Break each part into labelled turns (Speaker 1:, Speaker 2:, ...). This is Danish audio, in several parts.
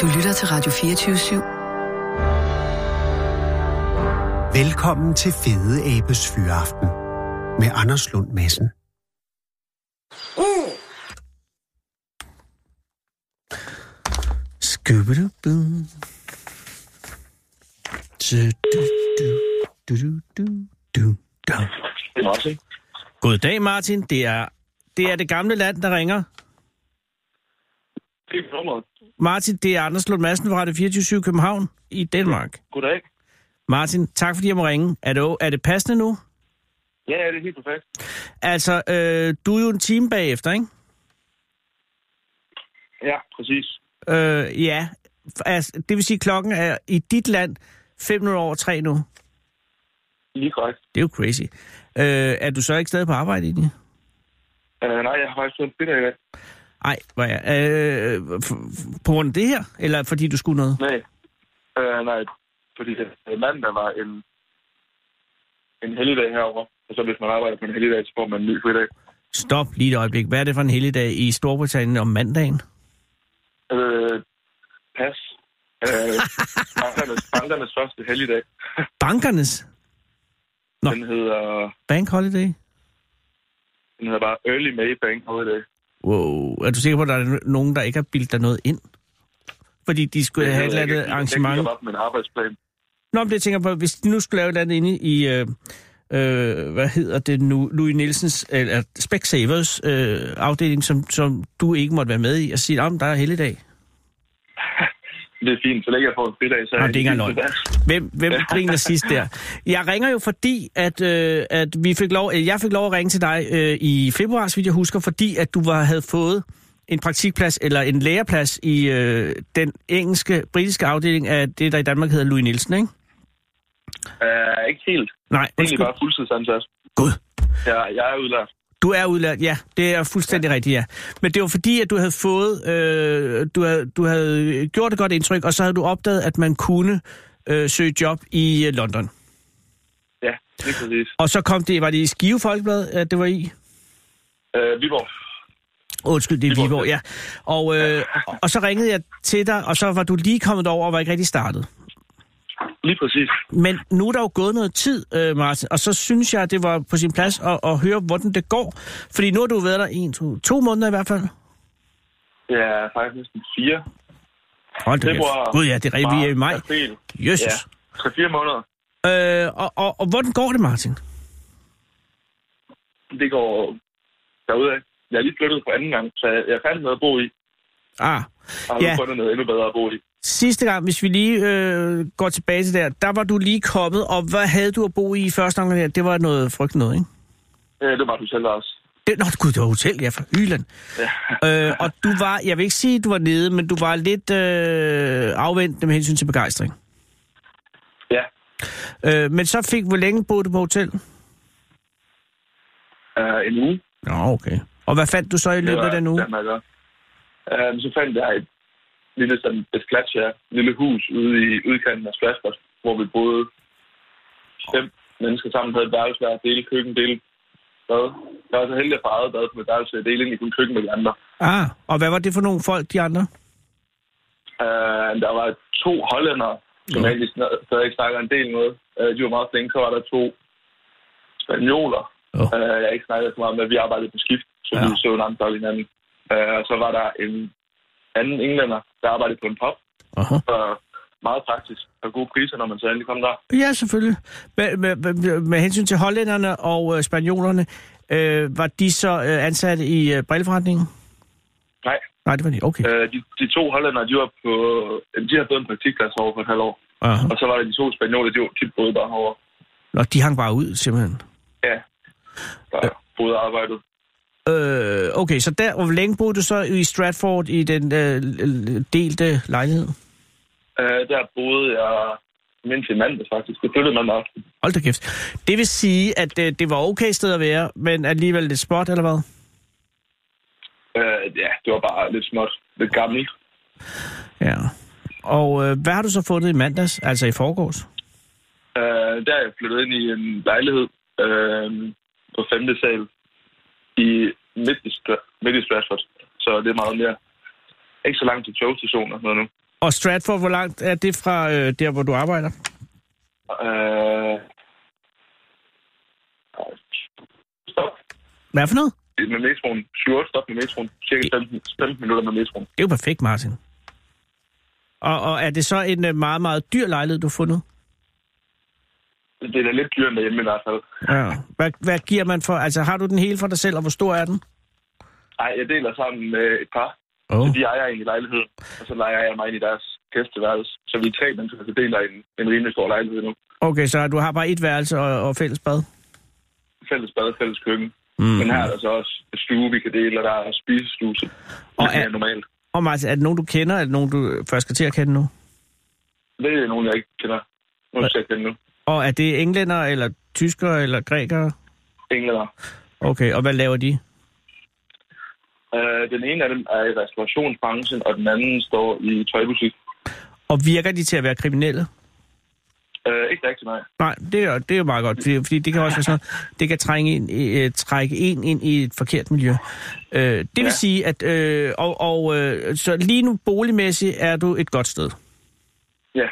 Speaker 1: Du lytter til Radio 24 /7.
Speaker 2: Velkommen til Fede Abes Fyraften med Anders Lund Madsen. Skubidubu. Du, du, du, du, du, du, du.
Speaker 3: Det er også, ikke?
Speaker 4: Goddag, Martin. Det er, det er det gamle land, der ringer.
Speaker 3: Det er nummeret.
Speaker 4: Martin, det er Anders Lund Madsen fra Radio 24 København i Danmark.
Speaker 3: Goddag.
Speaker 4: Martin, tak fordi jeg må ringe. Er det, o- er det passende nu?
Speaker 3: Ja, ja, det er helt perfekt.
Speaker 4: Altså, øh, du er jo en time bagefter, ikke?
Speaker 3: Ja, præcis.
Speaker 4: Øh, ja. Altså, det vil sige, at klokken er i dit land 5 minutter over 3 nu.
Speaker 3: Lige korrekt.
Speaker 4: Det er jo crazy. Øh, er du så ikke stadig på arbejde i det?
Speaker 3: Uh, nej, jeg har faktisk fået en finder i dag.
Speaker 4: Nej, var jeg. Øh, f- f- på grund af det her? Eller fordi du skulle noget?
Speaker 3: Nej. Uh, nej, fordi øh, mandag var en, en helligdag herovre. Og så hvis man arbejder på en helligdag, så får man en ny fridag.
Speaker 4: Stop lige et øjeblik. Hvad er det for en helligdag i Storbritannien om mandagen?
Speaker 3: Uh, pas. Uh, bankernes, bankernes første helligdag.
Speaker 4: Bankernes Nå.
Speaker 3: Den hedder,
Speaker 4: bank holiday?
Speaker 3: den hedder bare Early May Bank Holiday.
Speaker 4: Wow. Er du sikker på, at der er nogen, der ikke har bildt dig noget ind? Fordi de skulle have et eller andet
Speaker 3: Jeg
Speaker 4: arrangement.
Speaker 3: kigger op med en arbejdsplan.
Speaker 4: Nå, men det jeg tænker på, hvis de nu skulle lave et eller andet inde i, øh, øh, hvad hedder det nu, Louis Nielsens, eller Specsavers øh, afdeling, som, som du ikke måtte være med i, og sige, om der er helligdag.
Speaker 3: Det er fint, så længe jeg får en fridag, så
Speaker 4: Nå,
Speaker 3: er
Speaker 4: det er ikke
Speaker 3: helt
Speaker 4: engang løgn.
Speaker 3: tilfreds.
Speaker 4: Hvem, hvem griner sidst der? Jeg ringer jo fordi, at, øh, at vi fik lov, øh, jeg fik lov at ringe til dig øh, i februar, så vidt jeg husker, fordi at du var, havde fået en praktikplads eller en læreplads i øh, den engelske, britiske afdeling af det, der i Danmark hedder Louis Nielsen, ikke?
Speaker 3: Uh, ikke helt.
Speaker 4: Nej,
Speaker 3: Egentlig
Speaker 4: undskyld.
Speaker 3: bare fuldtidsansat.
Speaker 4: Gud.
Speaker 3: Ja, jeg er udlært.
Speaker 4: Du er udlært, ja. Det er fuldstændig rigtigt, ja. Men det var fordi, at du havde fået, øh, du, havde, du havde gjort et godt indtryk, og så havde du opdaget, at man kunne øh, søge job i øh, London.
Speaker 3: Ja, lige præcis.
Speaker 4: Og så kom det, var det i Skive Folkeblad, at det var i?
Speaker 3: Øh, Viborg.
Speaker 4: Undskyld, det er
Speaker 3: Viborg.
Speaker 4: Viborg, ja. Og, øh, og- og så ringede jeg til dig, og så var du lige kommet over og var ikke rigtig startet.
Speaker 3: Lige præcis.
Speaker 4: Men nu er der jo gået noget tid, øh, Martin, og så synes jeg, at det var på sin plads at, at høre, hvordan det går. Fordi nu har du været der en, to, to måneder i hvert fald.
Speaker 3: Ja, faktisk næsten fire.
Speaker 4: Hold da kæft.
Speaker 3: Februar,
Speaker 4: Gud ja, det er rigtigt, vi er i maj.
Speaker 3: April. Ja.
Speaker 4: Jesus.
Speaker 3: Så fire måneder.
Speaker 4: Øh, og, og, og hvordan går det, Martin?
Speaker 3: Det går derudad. Jeg er lige flyttet for anden gang, så jeg fandt noget at bo i.
Speaker 4: Ah,
Speaker 3: Og har nu
Speaker 4: Ja.
Speaker 3: fundet noget endnu bedre at bo i.
Speaker 4: sidste gang, hvis vi lige øh, går tilbage til der, der var du lige kommet, og hvad havde du at bo i i første omgang der? Det var noget frygteligt noget, ikke?
Speaker 3: Øh, det var du selv også.
Speaker 4: Det, nå, gud, det var hotel, ja, fra Hyland. Ja. Øh, og du var, jeg vil ikke sige, du var nede, men du var lidt øh, afventende med hensyn til begejstring.
Speaker 3: Ja.
Speaker 4: Øh, men så fik, hvor længe boede du på hotel?
Speaker 3: Øh, en uge.
Speaker 4: Nå, okay. Og hvad fandt du så i løbet af den uge?
Speaker 3: Danmark, øh, så fandt jeg et lille sådan, et klatsch, ja. et lille hus ude i udkanten af Strasbourg, hvor vi boede fem mennesker sammen, havde et værelse hver, dele køkken, dele bad. Jeg var så heldig at få eget bad på mit værelse, jeg delte egentlig kun køkken med de andre.
Speaker 4: Ah, og hvad var det for nogle folk, de andre?
Speaker 3: Øh, der var to hollændere, som
Speaker 4: Nå.
Speaker 3: ja. egentlig sna- stadig snakker en del noget. Øh, de var meget flinke. Så var der to spanioler,
Speaker 4: Åh.
Speaker 3: øh, jeg ikke snakkede så meget med. Vi arbejdede på skift, så
Speaker 4: Ja.
Speaker 3: ja. vi så en anden døgn hinanden. Øh, og så var der en anden englænder, der arbejdede på en pop.
Speaker 4: Aha.
Speaker 3: Så meget praktisk og gode priser, når man så endelig kom der.
Speaker 4: Ja, selvfølgelig. Med, med, med, med hensyn til hollænderne og øh, spanjolerne, øh, var de så øh, ansatte i øh, brilleforretningen?
Speaker 3: Nej,
Speaker 4: Nej, det var de. Okay.
Speaker 3: øh, de, de to hollændere, de, var på, øh, de har fået en praktikplads over for et halvt år.
Speaker 4: Aha.
Speaker 3: Og så var der de to spanioler, de, var- de boede bare over.
Speaker 4: Nå, de hang bare ud, simpelthen.
Speaker 3: Ja, der boede og arbejdede.
Speaker 4: Øh, okay, så der, hvor længe boede du så i Stratford i den øh, l- l- delte lejlighed?
Speaker 3: Øh, der boede jeg mindst i mandags faktisk. Det flyttede mandag aften.
Speaker 4: Hold da kæft. Det vil sige, at øh, det var okay sted at være, men alligevel lidt spot, eller hvad?
Speaker 3: Øh, ja, det var bare lidt småt. Lidt gammelt.
Speaker 4: Ja. Og øh, hvad har du så fundet i mandags, altså i forgårs?
Speaker 3: Øh, der er jeg flyttet ind i en lejlighed øh, på 5. sal i midt i, Stra- midt i Stratford. Så det er meget mere. Ikke så langt til togstationen og sådan noget nu.
Speaker 4: Og Stratford, hvor langt er det fra øh, der, hvor du arbejder?
Speaker 3: Øh... Stop
Speaker 4: Hvad for noget?
Speaker 3: med metroen. 7 stop med metroen. Cirka 15, 15 minutter med metroen.
Speaker 4: Det er jo perfekt, Martin. Og, og er det så en øh, meget, meget dyr lejlighed, du har fundet?
Speaker 3: Det er da lidt dyrere end derhjemme i hvert fald.
Speaker 4: Ja. Hvad, hvad giver man for? Altså, har du den hele for dig selv, og hvor stor er den?
Speaker 3: Nej, jeg deler sammen med et par.
Speaker 4: Oh.
Speaker 3: Så de ejer en i lejligheden, og så leger jeg mig ind i deres gæsteværelse. Så vi er tre mennesker, der deler en, en rimelig stor lejlighed nu.
Speaker 4: Okay, så du har bare et værelse og, og fælles bad?
Speaker 3: Fælles bad, fælles køkken. Mm. Men her er der så også et stue, vi kan dele, og der er spisestue, som
Speaker 4: Og
Speaker 3: og
Speaker 4: er-
Speaker 3: er normalt.
Speaker 4: Og Martin, er det nogen, du kender? Er det nogen, du først skal til at kende nu?
Speaker 3: Det er nogen, jeg ikke kender. Nu skal jeg kende nu.
Speaker 4: Og er det englænder, eller tyskere, eller grækere?
Speaker 3: Englænder.
Speaker 4: Okay, og hvad laver de?
Speaker 3: Øh, den ene af dem er i restaurationsbranchen, og den anden står i tøjbutik.
Speaker 4: Og virker de til at være kriminelle?
Speaker 3: Øh, ikke rigtig nej.
Speaker 4: Nej, det er, det er jo meget godt, fordi, fordi det kan også være sådan noget, det kan trænge ind, i- øh, trække en ind i et forkert miljø. Øh, det vil ja.
Speaker 3: Ja.
Speaker 4: sige, at øh, og, og, øh, så lige nu boligmæssigt er du et godt sted.
Speaker 3: Ja,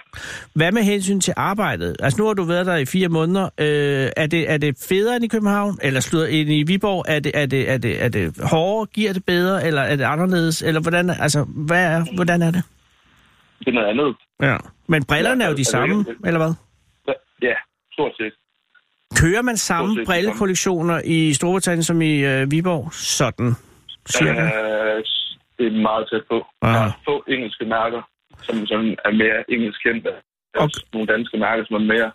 Speaker 4: Hvad med hensyn til arbejdet? Altså nu har du været der i fire måneder. Øh, er, det, er det federe end i København? Eller slutter end i Viborg? Er det, er det, er det, er det hårdere? Giver det bedre? Eller er det anderledes? Eller hvordan, altså, hvad er, hvordan er det?
Speaker 3: det er noget andet.
Speaker 4: Ja. Men brillerne er jo
Speaker 3: Ja,
Speaker 4: de
Speaker 3: altså, det er
Speaker 4: samme,
Speaker 3: ikke-
Speaker 4: eller hvad?
Speaker 3: Ja, stort set.
Speaker 4: Kører man
Speaker 3: Stort set
Speaker 4: samme
Speaker 3: det
Speaker 4: brillekollektioner i Storbritannien som i øh, Viborg? Sådan, cirka.
Speaker 3: Øh, det er meget tæt på.
Speaker 4: Ah.
Speaker 3: Der er få engelske mærker, som, som er mere engelsk kendte. Der er
Speaker 4: Og-
Speaker 3: også nogle danske mærker, som er mere,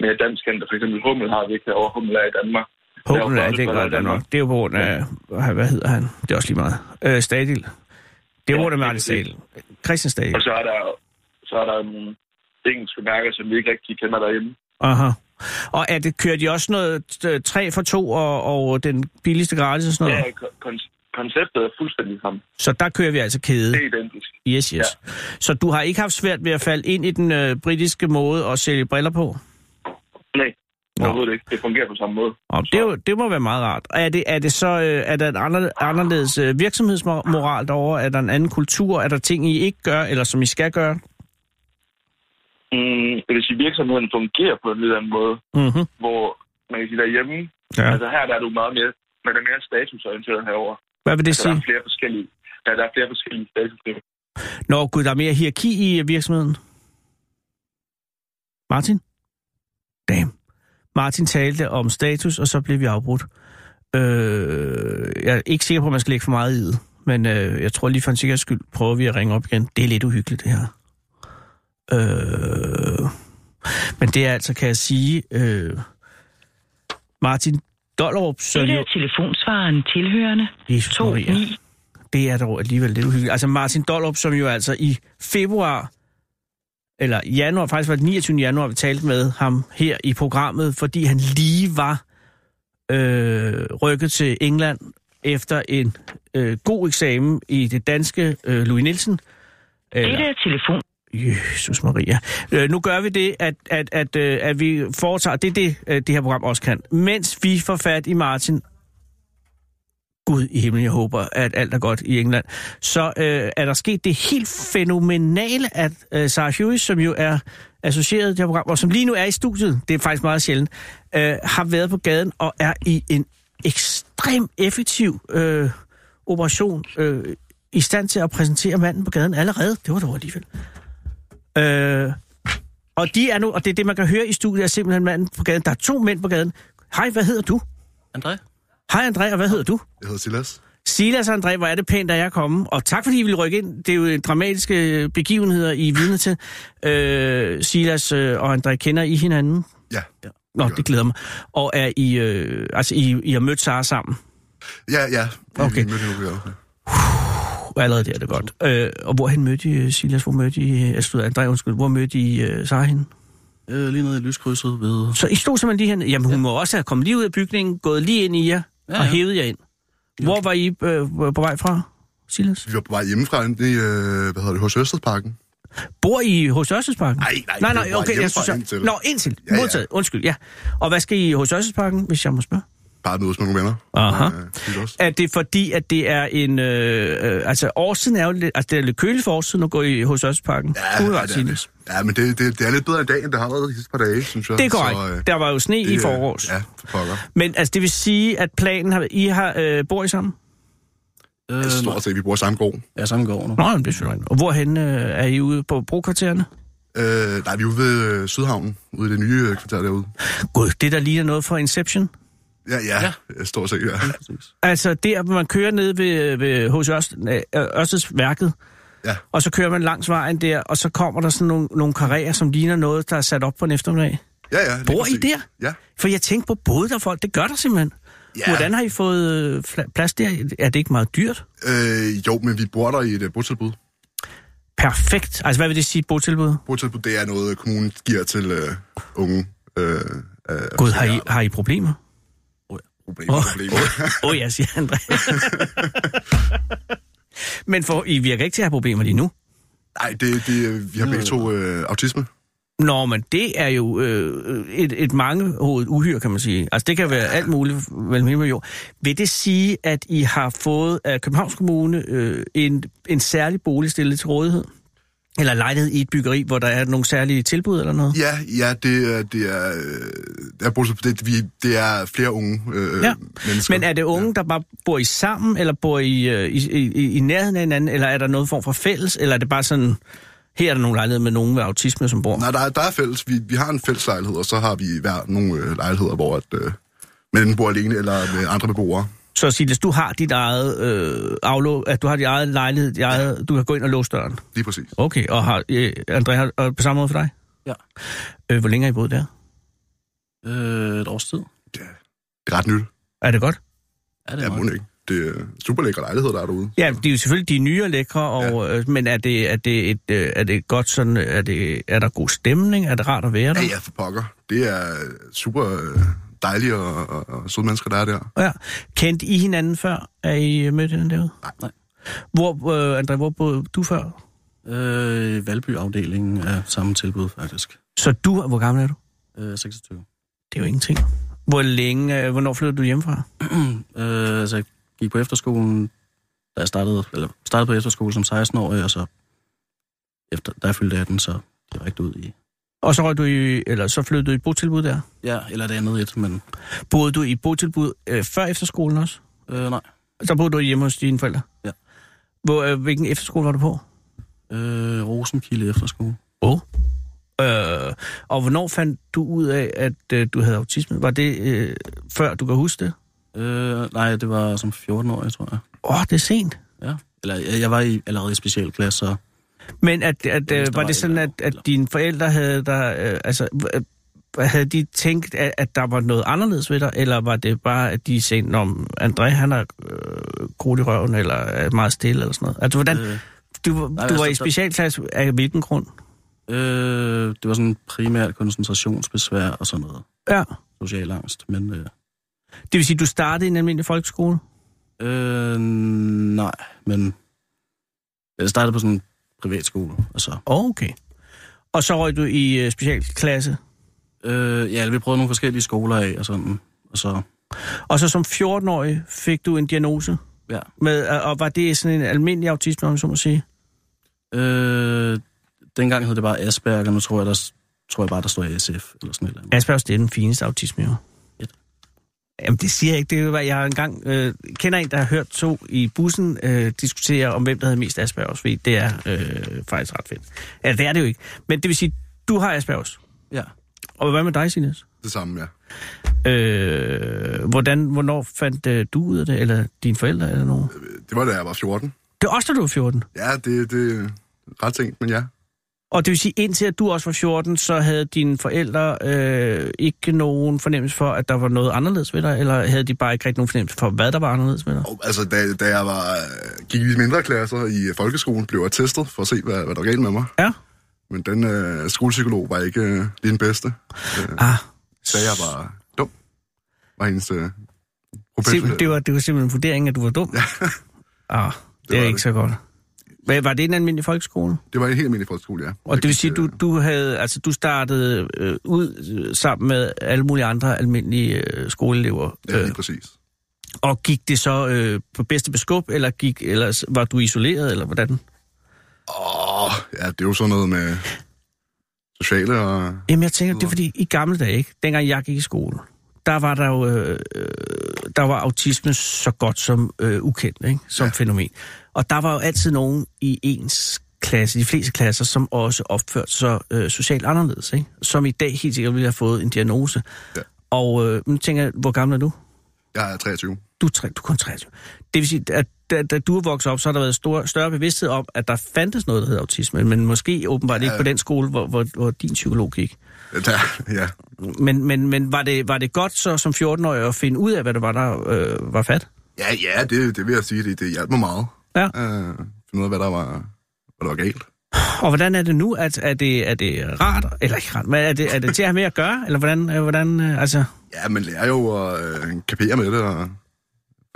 Speaker 3: mere dansk kendte. For eksempel Hummel har vi ikke herovre. Hummel er i Danmark.
Speaker 4: Hummel
Speaker 3: Der
Speaker 4: er
Speaker 3: jo
Speaker 4: det ikke
Speaker 3: Hummel
Speaker 4: godt
Speaker 3: i Danmark.
Speaker 4: Danmark. Det er jo på grund af, hvad hvad hedder han? Det er også lige meget. Øh, Stadil. Det er på
Speaker 3: Ja,
Speaker 4: grund af
Speaker 3: det er
Speaker 4: Martin Stadil.
Speaker 3: præcis.
Speaker 4: Christian Stadil.
Speaker 3: Og så er der, så er der nogle engelske mærker, som vi ikke rigtig kender derhjemme.
Speaker 4: Aha. Og er det, kører de også noget øh, 3 for 2 og, og den billigste gratis og sådan
Speaker 3: Ja,
Speaker 4: noget?
Speaker 3: kon- kon- konceptet er fuldstændig sammen.
Speaker 4: Så der kører vi altså kæde.
Speaker 3: Det er identisk.
Speaker 4: Yes, yes. Ja. Så du har ikke haft svært ved at falde ind i den øh, britiske måde at sælge briller på?
Speaker 3: Nej,
Speaker 4: Nå.
Speaker 3: overhovedet ikke. Det fungerer på samme måde.
Speaker 4: Og det, er jo, det må være meget rart. Og er det, er det så øh, er der en ander, anderledes øh, virksomhedsmoral derovre? Er der en anden kultur? Er der ting, I ikke gør, eller som I skal gøre?
Speaker 3: Mm, jeg vil sige, virksomheden fungerer på en lidt anden måde,
Speaker 4: Mm-hmm.
Speaker 3: hvor man kan sige derhjemme,
Speaker 4: Ja.
Speaker 3: ja. altså her der er du meget mere, man er mere statusorienteret herover.
Speaker 4: Hvad vil det
Speaker 3: Så der
Speaker 4: sige?
Speaker 3: er flere forskellige, der, der er flere forskellige statusniveauer.
Speaker 4: Nå, gud, der er mere hierarki i øh, virksomheden. Martin? Damn. Martin talte om status, og så blev vi afbrudt. Øh, jeg er ikke sikker på, at man skal lægge for meget i det, men øh, jeg tror lige for en sikkerheds skyld prøver vi at ringe op igen. Det er lidt uhyggeligt, det her. Øh, men det er altså, kan jeg sige, øh, Martin Dollerup, så
Speaker 5: Dette
Speaker 4: jo...
Speaker 5: er telefonsvaren tilhørende
Speaker 4: Jesus
Speaker 5: 2
Speaker 4: Maria.
Speaker 5: 9.
Speaker 4: Det er dog alligevel lidt uhyggeligt. Altså Martin Dollop, som jo altså i februar, eller i januar, faktisk var det 29. januar, vi talte med ham her i programmet, fordi han lige var øh, rykket til England efter en øh, god eksamen i det danske øh, Louis Nielsen.
Speaker 5: Dette er telefon.
Speaker 4: Jesus Maria. Øh, nu gør vi det, at, at, at, øh, at vi foretager, det er det, øh, det her program også kan, mens vi får fat i Martin, Gud i himlen, jeg håber, at alt er godt i England, så øh, er der sket det helt fænomenale, at øh, Sarah Hughes, som jo er associeret i det her program, og som lige nu er i studiet, det er faktisk meget sjældent, øh, har været på gaden og er i en ekstrem effektiv øh, operation øh, i stand til at præsentere manden på gaden allerede. Det var dog alligevel. Øh, og de er nu, og det er det, man kan høre i studiet, er simpelthen manden på gaden. Der er to mænd på gaden. Hej, hvad hedder du?
Speaker 6: André?
Speaker 4: Hej, André, og hvad hedder du?
Speaker 7: Jeg hedder Silas.
Speaker 4: Silas og André, hvor er det pænt, at jeg er kommet. Og tak, fordi I ville rykke ind. Det er jo dramatiske begivenheder, I er vidne til. Øh, Silas øh, og André, kender I hinanden?
Speaker 7: Ja.
Speaker 4: Nå, det glæder mig. Og er I, øh, altså, I, I har mødt Sara sammen?
Speaker 7: Ja, ja. Vi-
Speaker 4: Okay.
Speaker 7: Vi mødte hende ude på
Speaker 4: Uh, allerede der er det godt. Øh, og hvorhen mødte I, øh, Silas? Hvor mødte I, øh, altså, André, undskyld, hvor mødte I øh, Sara hende?
Speaker 6: Øh, lige nede i lyskrydset ved...
Speaker 4: Så I stod simpelthen lige hernede. Jamen, hun ja. må også have kommet lige ud af bygningen, gået lige ind i jer ja, ja.
Speaker 6: Ja,
Speaker 4: og
Speaker 6: ja.
Speaker 4: hævet jer ind. Hvor var I øh, på vej fra, Silas?
Speaker 7: Vi var på vej hjemmefra ind i, øh, hvad hedder det, hos Østersparken.
Speaker 4: Bor I hos Ørstedsparken?
Speaker 7: Nej,
Speaker 4: nej,
Speaker 7: nej, vi
Speaker 4: nej
Speaker 7: bor
Speaker 4: okay, jeg
Speaker 7: hjemmefra
Speaker 4: synes... Jeg...
Speaker 7: indtil.
Speaker 4: Nå, indtil. Ja,
Speaker 7: Ja,
Speaker 4: ja.
Speaker 7: ja.
Speaker 4: Modtaget, undskyld, ja. Og hvad skal I hos Ørstedsparken, hvis jeg må spørge?
Speaker 7: Bare mødes med nogle venner.
Speaker 4: Aha.
Speaker 7: Øh, hygge os.
Speaker 4: Er det fordi, at det er en... Øh, øh, altså, årsiden er jo lidt... Altså, det er lidt køligt for årsiden at gå i hos Østparken.
Speaker 7: Ja, ja, det er det. Ja, men det, det, det er lidt bedre i dag, end det har været de sidste par dage, synes jeg.
Speaker 4: Det er korrekt. Så, øh, der var jo sne
Speaker 7: det,
Speaker 4: i
Speaker 7: øh,
Speaker 4: forårs. Ja.
Speaker 7: Ja, for pokker.
Speaker 4: Men altså, det vil sige, at planen har... I har, øh, bor I sammen?
Speaker 7: Det
Speaker 4: Øhm.
Speaker 6: Øh,
Speaker 7: er stort set, vi bor i samme gård.
Speaker 6: jeg er sammen går nu.
Speaker 4: Nå, jamen, det er selvfølgelig Og hvorhen øh, er I ude på brokvartererne?
Speaker 7: Øh, nej, vi er ude ved øh, Sydhavnen, ude i det nye øh, kvarter derude.
Speaker 4: Gud, det der ligner noget fra Inception.
Speaker 7: Ja, ja, ja. stort set, ja.
Speaker 4: Altså, der hvor man kører ned ved, ved hos Ørst, øh, Ørsteds værket,
Speaker 7: Ja.
Speaker 4: og så kører man langs vejen der, og så kommer der sådan nogle, nogle karrierer, som ligner noget, der er sat op på en eftermiddag.
Speaker 7: ja, ja lige
Speaker 4: Bor I
Speaker 7: præcis.
Speaker 4: der?
Speaker 7: Ja.
Speaker 4: For jeg tænkte på både der folk, det gør der simpelthen.
Speaker 7: Ja.
Speaker 4: Hvordan har I fået øh, fla- plads der? Er det ikke meget dyrt?
Speaker 7: Øh, jo, men vi bor der i et uh, botilbud.
Speaker 4: Perfekt. Altså, hvad vil det sige, et botilbud?
Speaker 7: Botilbud, det er noget, øh, kommunen giver til øh, unge. Øh, øh,
Speaker 4: Gud, har I, har I problemer?
Speaker 7: problemer,
Speaker 4: Åh.
Speaker 7: problemer.
Speaker 4: Åh oh, ja, siger André. Men for, I virker ikke til at have problemer lige nu.
Speaker 7: Nej, det, det, øh, vi har begge to øh, autisme.
Speaker 4: Nå, men det er jo øh, et, et mangehovedet uhyre, kan man sige. Altså, det kan være alt muligt mellem himmel og jord. Vil det sige, at I har fået af Københavns Kommune øh, en, en særlig bolig stillet til rådighed? Eller lejlighed i et byggeri, hvor der er nogle særlige tilbud eller noget?
Speaker 7: Ja, ja, det, er- det er, øh, det er, botilbud, det, vi, det er flere unge øh,
Speaker 4: Ja,
Speaker 7: ja. mennesker.
Speaker 4: Men er det unge, der bare bor I sammen, eller bor I, øh, i, i, i nærheden af hinanden, eller er der noget form for fælles, eller er det bare sådan, her er der nogle lejligheder med nogen med autisme, som bor?
Speaker 7: Nej, der er, der er fælles. Vi, vi har en fælles lejlighed, og så har vi hver nogle øh, lejligheder, hvor at, øh, man enten bor alene eller med andre beboere.
Speaker 4: Så Silas, du har dit eget øh, aflå, at du har dit eget lejlighed, dit eget, du kan gå ind og låse døren.
Speaker 7: Lige præcis.
Speaker 4: Okay, og har, øh, André, har, og på samme måde for dig?
Speaker 6: Ja.
Speaker 4: Øh, hvor længe har I boet der?
Speaker 6: Øh, et års tid.
Speaker 7: Ja. Det er ret nyt.
Speaker 4: Er det godt?
Speaker 6: Er det
Speaker 7: Ja, må det ikke. Det er super lækker lejlighed, der er derude.
Speaker 4: Ja, de er jo selvfølgelig de er nye og lækre, og, ja. øh, men er det, er det, et, øh, er det godt sådan, er, det, er der god stemning? Er det rart at være der?
Speaker 7: Ja, ja, for pokker. Det er super øh, dejlige og, og, og søde mennesker, der er der.
Speaker 4: Ja. Kendte I hinanden før, at I mødte hinanden derude?
Speaker 6: Nej.
Speaker 4: Hvor, øh, André, hvor boede du før?
Speaker 6: Øh, Valby-afdelingen er samme tilbud, faktisk.
Speaker 4: Så du, hvor gammel er du?
Speaker 6: Øh, 26.
Speaker 4: Det er jo ingenting. Hvor længe, øh, hvornår flyttede du hjemmefra?
Speaker 6: Øh, altså, jeg gik på efterskolen, da jeg startede, eller startede på efterskole som 16-årig, og så efter, da jeg fyldte 18, så direkte ud i...
Speaker 4: Og så, røg du i, eller så flyttede du i et botilbud der?
Speaker 6: Ja, eller det andet et, men
Speaker 4: Boede du i et botilbud øh, før efterskolen også?
Speaker 6: øh, nej.
Speaker 4: Så boede du hjemme hos dine forældre?
Speaker 6: Ja.
Speaker 4: Hvor, øh, hvilken efterskole var du på?
Speaker 6: Øh, Rosenkilde efterskole.
Speaker 4: Oh. Øh, og hvornår fandt du ud af, at øh, du havde autisme? Var det øh, før, du kan huske det?
Speaker 6: Øh, nej, det var som 14-årig, tror jeg.
Speaker 4: Åh, oh, det er sent.
Speaker 6: Ja. Eller jeg, jeg var i, allerede i specialklasse, så
Speaker 4: Men at, at,
Speaker 6: Ja,
Speaker 4: øh, var,
Speaker 6: hvis der
Speaker 4: var
Speaker 6: var
Speaker 4: det
Speaker 6: et
Speaker 4: sådan, at,
Speaker 6: eller andet,
Speaker 4: at
Speaker 6: eller-
Speaker 4: dine forældre havde der, øh, altså, h- h- havde de tænkt, at, at der var noget anderledes ved dig, eller var det bare, at de sagde, om André, han er øh, krudt i røven, eller er meget stille, eller sådan noget? Altså, hvordan,
Speaker 6: øh,
Speaker 4: du, du
Speaker 6: altså,
Speaker 4: var i
Speaker 6: der-
Speaker 4: specialklasse af hvilken grund?
Speaker 6: øh, det var sådan primært koncentrationsbesvær og sådan noget.
Speaker 4: Ja.
Speaker 6: Social angst, men øh,
Speaker 4: Det vil sige, du startede i en almindelig folkeskole?
Speaker 6: øh, nej, men jeg startede på sådan en privatskole, og så...
Speaker 4: Okay. Og så røg du i øh, specialklasse?
Speaker 6: Øh, ja, vi prøvede nogle forskellige skoler af og sådan, og så...
Speaker 4: Og så som 14-årig fik du en diagnose?
Speaker 6: Ja.
Speaker 4: Med, og og var det sådan en almindelig autisme, om jeg så må sige?
Speaker 6: Øh, dengang hed det bare Asperger, nu tror jeg, der, s- tror jeg bare, der står SF eller sådan et eller andet.
Speaker 4: Aspergers, det er den fineste autisme, jo.
Speaker 6: Fedt.
Speaker 4: Jamen, det siger jeg ikke. Det er, jo, hvad jeg har engang øh, kender en, der har hørt to i bussen øh, diskutere om, hvem der havde mest Aspergers, fordi det er øh, faktisk ret fedt. Ja, det er det jo ikke. Men det vil sige, du har Aspergers.
Speaker 6: Ja.
Speaker 4: Og hvad med dig, Sines?
Speaker 7: Det samme, ja.
Speaker 4: Øh, hvordan, hvornår fandt øh, du ud af det, eller dine forældre, eller nogen?
Speaker 7: Det var da jeg var 14.
Speaker 4: Det var også, da du var 14.
Speaker 7: Ja, det, det er ret sent, men ja.
Speaker 4: Og det vil sige, indtil at du også var 14, så havde dine forældre øh, ikke nogen fornemmelse for, at der var noget anderledes ved dig, eller havde de bare ikke rigtig nogen fornemmelse for, hvad der var anderledes ved dig?
Speaker 7: Og, altså, da, da jeg var, øh, gik i de mindre klasser i øh, folkeskolen, blev jeg testet for at se, hvad, hvad der var galt med mig.
Speaker 4: Ja.
Speaker 7: Men den øh, skolepsykolog var ikke øh, lige den bedste. Øh,
Speaker 4: Ah,
Speaker 7: sagde jeg var dum. Var hendes øh,
Speaker 4: Sim, det, var, det var simpelthen en vurdering, at du var dum. Ja. Ah, det, det
Speaker 7: var
Speaker 4: er ikke
Speaker 7: det.
Speaker 4: så godt. Hvad, var det en almindelig folkeskole?
Speaker 7: Det var en helt almindelig folkeskole, ja.
Speaker 4: Og det vil sige, du, du havde, altså, du startede øh, ud øh, sammen med alle mulige andre almindelige øh, skoleelever.
Speaker 7: Ja,
Speaker 4: Øh,
Speaker 7: lige præcis.
Speaker 4: og gik det så øh, på bedste beskub, eller gik, ellers var du isoleret, eller hvordan?
Speaker 7: Åh, ja, det er jo sådan noget med sociale og...
Speaker 4: Jamen, jeg tænker, det er fordi, i gamle dage, ikke? dengang jeg gik i skole, der var der jo, øh, øh, der var autisme så godt som øh, ukendt, ikke? som ja. fænomen. Og der var jo altid nogen i ens klasse, de fleste klasser, som også opførte sig øh, socialt anderledes, ikke? som i dag helt sikkert ville have fået en diagnose.
Speaker 7: Ja.
Speaker 4: Og øh, nu tænker jeg, hvor gammel er du?
Speaker 7: Jeg er 23.
Speaker 4: Du er, tre, du er kun 23. Det vil sige, at da, da du er vokset op, så har der været stor, større bevidsthed om, at der fandtes noget, der hed autisme, men måske åbenbart ja. ikke på den skole, hvor, hvor, hvor din psykolog gik.
Speaker 7: Der, ja,
Speaker 4: Men, men, men var, det, var det godt så som 14-årig at finde ud af, hvad det var, der øh, var fat?
Speaker 7: ja, ja det, det vil jeg sige, det, det hjalp mig meget.
Speaker 4: Ja.
Speaker 7: Øh, finde ud af, hvad der var, hvad der var galt.
Speaker 4: Og hvordan er det nu? At, er, det, er det rart, eller ikke rart, hvad er det, er det til at have med at gøre? Eller hvordan, øh, hvordan øh, altså...
Speaker 7: Ja, man lærer jo at øh, kapere med det, og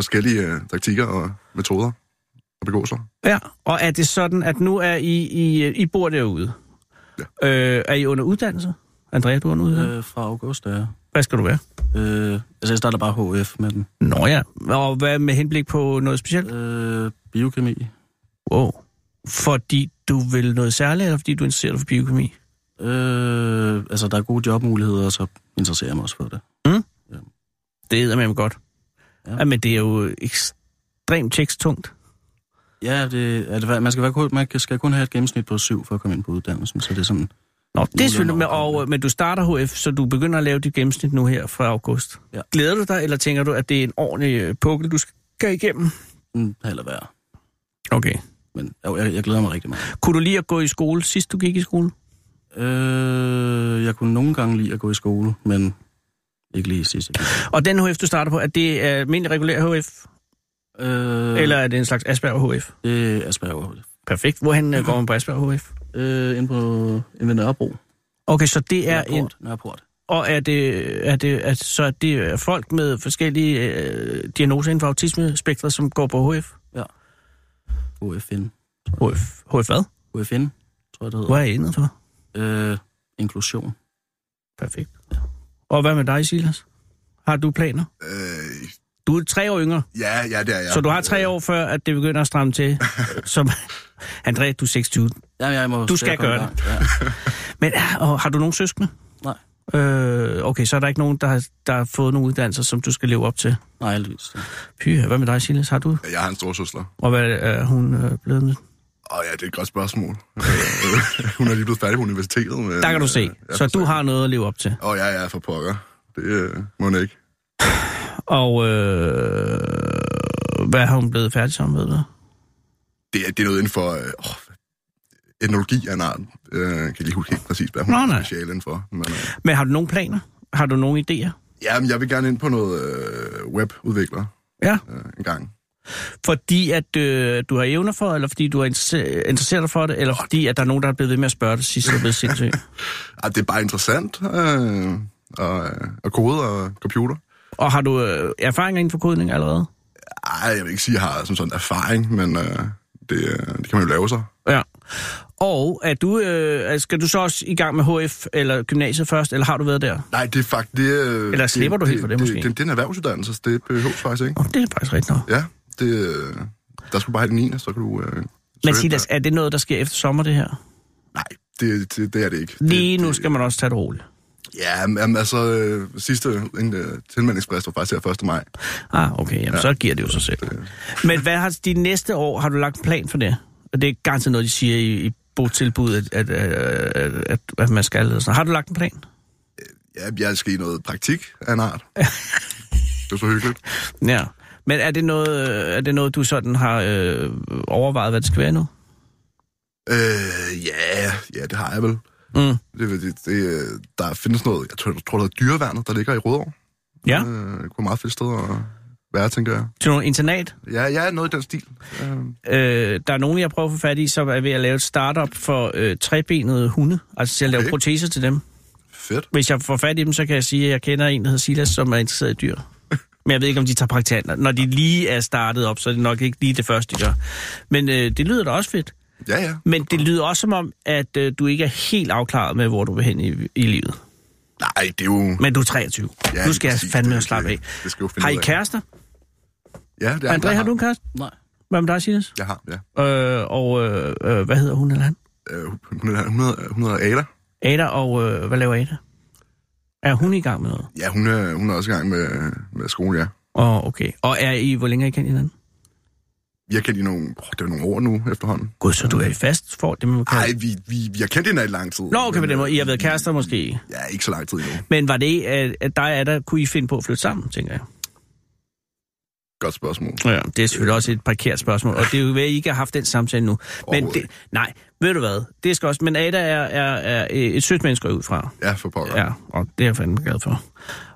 Speaker 7: forskellige øh, taktikker og metoder og begå sig.
Speaker 4: Ja, og er det sådan, at nu er I, I, I bor derude? Ja. Øh, er I under uddannelse? Andrea, du er under uddannelse? Øh.
Speaker 6: Øh, fra august, ja.
Speaker 4: Hvad skal du være?
Speaker 6: Øh, altså, jeg starter bare HF med den.
Speaker 4: Nå ja, og hvad med henblik på noget specielt?
Speaker 6: Øh, biokemi.
Speaker 4: Wow. Fordi du vil noget særligt, eller fordi du interesserer dig for biokemi?
Speaker 6: Øh, altså, der er gode jobmuligheder, og så interesserer jeg mig også for det.
Speaker 4: Det er med godt.
Speaker 6: Ja.
Speaker 4: Ja. Men det er jo ekstremt teksttungt.
Speaker 6: Ja, det, er det, man, skal, være, kun- man skal kun have et gennemsnit på syv for at komme ind på uddannelsen, så det er sådan...
Speaker 4: Nå, det er selvfølgelig, men,
Speaker 6: Nogenlunde
Speaker 4: og,
Speaker 6: overkommelig.
Speaker 4: men du starter HF, så du begynder at lave dit gennemsnit nu her fra august.
Speaker 6: Ja.
Speaker 4: Glæder du dig, eller tænker du, at det er en ordentlig øh, pukkel, du skal igennem?
Speaker 6: Mm, heller være.
Speaker 4: Okay.
Speaker 6: Men jo, jeg, jeg glæder mig rigtig meget.
Speaker 4: Kunne du lige at gå i skole, sidst du gik i skole?
Speaker 6: Øh, jeg kunne nogle gange lide at gå i skole, men ikke lige sidste gang.
Speaker 4: Og den HF, du starter på, er det øh, almindelig regulær HF,
Speaker 6: Øh,
Speaker 4: eller er det en slags Asperger HF?
Speaker 6: Det er Asperger.
Speaker 4: Perfekt. Hvorhen øh, går man på Asperger HF?
Speaker 6: Øh, inde på inde ved Nørrebro.
Speaker 4: Okay, så det er en...
Speaker 6: Nørreport. Nørreport.
Speaker 4: Og er det, er det, at, så er det øh, folk med forskellige øh, diagnoser inden for autismespektret, som går på HF?
Speaker 6: UFN.
Speaker 4: HF, HF hvad?
Speaker 6: UFN, tror jeg, det hedder.
Speaker 4: Hvad er jeg inden for?
Speaker 6: Øh, inklusion.
Speaker 4: Perfekt. Og hvad med dig, Silas? Har du planer?
Speaker 7: Øh,
Speaker 4: Du er tre år yngre,
Speaker 7: ja, ja, det er jeg.
Speaker 4: ja, så du har tre
Speaker 7: Øh,
Speaker 4: år før, at det begynder at stramme til. Som, André, du er 26.
Speaker 6: Jamen, jeg må
Speaker 4: Du
Speaker 6: se
Speaker 4: skal
Speaker 6: at komme
Speaker 4: gøre
Speaker 6: i gang.
Speaker 4: Men ah, og har du nogen søskende?
Speaker 6: Nej.
Speaker 4: Øh, okay, så er der ikke nogen, der har, der har fået nogle uddannelser, som du skal leve op til.
Speaker 6: Ja. Nej, heldigvis.
Speaker 4: Pyha, hvad med dig, Silas? Har du?
Speaker 7: Jeg har en storsøster.
Speaker 4: Og hvad er hun øh, blevet? med?
Speaker 7: Åh ja, det er et godt spørgsmål. Øh, Hun er lige blevet færdig på universitetet. Men,
Speaker 4: Der kan du se.
Speaker 7: øh, ja,
Speaker 4: Så
Speaker 7: for
Speaker 4: du
Speaker 7: satan.
Speaker 4: har noget at leve op til.
Speaker 7: Åh ja, ja, for pokker. Det øh, må hun ikke.
Speaker 4: Og øh, hvad har hun blevet færdig som, ved du?
Speaker 7: Det, er- det er noget inden for... Øh, åh, etnologi af en art. Øh, jeg kan lige huske helt præcis, hvad hun
Speaker 4: Nå,
Speaker 7: er
Speaker 4: nej.
Speaker 7: special inden for. Men, øh,
Speaker 4: Men har du nogen planer? Har du nogen idéer?
Speaker 7: jamen, jeg vil gerne ind på noget øh, webudvikler
Speaker 4: Ja.
Speaker 7: øh, en gang.
Speaker 4: Fordi at øh, du har evner for, eller fordi du er interesse- interesseret dig for det, eller fordi at der er nogen, der er blevet ved med at spørge dig, sidst du er blevet sindssyg.
Speaker 7: Ej, Ah, det er bare interessant. Øh, og, og kode og computer.
Speaker 4: Og har du øh, erfaringer inden for kodning allerede?
Speaker 7: Ej, jeg vil ikke sige, at jeg har sådan sådan erfaring, men øh, det, øh, det kan man jo lave sig.
Speaker 4: Ja. Og er du, øh, skal du så også i gang med HF eller gymnasiet først, eller har du været der?
Speaker 7: Nej, det er faktisk... Det, øh,
Speaker 4: Eller slipper du helt for det, måske?
Speaker 7: Det, det, det er en erhvervsuddannelse, så det behøves faktisk ikke.
Speaker 4: Oh, det er faktisk rigtigt nok.
Speaker 7: Ja, det, øh, der skal du bare have den ene, så kan du... Øh, søge
Speaker 4: Men Silas,
Speaker 7: der.
Speaker 4: er det noget, der sker efter sommer, det her?
Speaker 7: Nej, det, det, det er det ikke.
Speaker 4: Lige
Speaker 7: det,
Speaker 4: nu
Speaker 7: det-
Speaker 4: skal man også tage det roligt.
Speaker 7: Ja, men, jamen, altså, øh, sidste en, øh, tilmeldingsfrist var faktisk her 1. maj.
Speaker 4: Ah, okay, jamen, så giver det jo sig selv. Men hvad har de næste år, har du lagt en plan for det? Og det er garanteret noget, de siger i, i botilbuddet, at, at, at, at, at man skal. Eller sådan. Har du lagt en plan?
Speaker 7: Ja, jeg skal i noget praktik af en art. det er så hyggeligt.
Speaker 4: Ja. Men er det noget, øh, er det noget du sådan har øh, overvejet, hvad det skal være nu?
Speaker 7: Øh, ja, ja, det har jeg vel.
Speaker 4: Mm.
Speaker 7: Det, det, det, øh, der findes noget, jeg tror, jeg tror, der er dyreværnet, der ligger i Rødovre.
Speaker 4: Ja,
Speaker 7: Øh, det kunne være meget fedt sted at være, tænker jeg.
Speaker 4: til nogle internat.
Speaker 7: Ja, jeg er noget i den stil. Øh,
Speaker 4: Øh, der er nogen, jeg prøver at få fat i, som er ved at lave et startup for øh, trebenede hunde. Altså til at lave
Speaker 7: Okay.
Speaker 4: proteser til dem.
Speaker 7: fedt.
Speaker 4: Hvis jeg får fat i dem, så kan jeg sige, at jeg kender en, der hedder Silas, som er interesseret i dyr. Men jeg ved ikke, om de tager praktikanter. Når de lige er startet op, så er det nok ikke lige det første, de gør. Men øh, det lyder da også fedt.
Speaker 7: Ja, ja.
Speaker 4: Men det lyder også som om, at øh, du ikke er helt afklaret med, hvor du vil hen i, i livet.
Speaker 7: Nej, det er jo...
Speaker 4: Men du er 23.
Speaker 7: Ja,
Speaker 4: Ja, nu skal jeg
Speaker 7: præcis.
Speaker 4: fandme
Speaker 7: Det-
Speaker 4: at slappe af.
Speaker 7: det- det skal jeg jo finde
Speaker 4: har I
Speaker 7: ud af.
Speaker 4: kærester?
Speaker 7: Ja, det er,
Speaker 4: Ja, André,
Speaker 7: jeg
Speaker 4: har du en kæreste?
Speaker 6: Nej.
Speaker 4: Hvad med dig, Sinas?
Speaker 7: Jeg har, ja.
Speaker 4: Øh, og øh, øh, hvad hedder hun eller han?
Speaker 7: Øh, 100, 100, 100 Ada.
Speaker 4: Ada, og øh, hvad laver Ada? Er hun i gang med noget?
Speaker 7: Ja, hun er, hun er også i gang med, med skolen, ja.
Speaker 4: Åh, oh, okay. Og er I, hvor længe har I kendt hinanden?
Speaker 7: Vi har kendt i nogle, oh, det er nogle år nu efterhånden.
Speaker 4: Gud, så du er i fast for det, man kan...
Speaker 7: Nej, vi, vi, vi har kendt hende i lang tid.
Speaker 4: Nå, okay, men det må,
Speaker 7: øh,
Speaker 4: I har været kærester måske.
Speaker 7: Ja, ikke så lang tid endnu.
Speaker 4: Men var det, at, at dig og Ada, kunne I finde på at flytte sammen, tænker jeg?
Speaker 7: Godt spørgsmål.
Speaker 4: Ja, det er selvfølgelig også et parkeret spørgsmål, og det er jo ved, at I ikke har haft den samtale nu. Men
Speaker 7: Overhovedet
Speaker 4: det,
Speaker 7: ikke.
Speaker 4: nej, ved du hvad? Det skal også, men Ada er, er, er øh, et sødt menneske ud fra.
Speaker 7: Ja, for pokker.
Speaker 4: Ja, og det er jeg fandme glad for.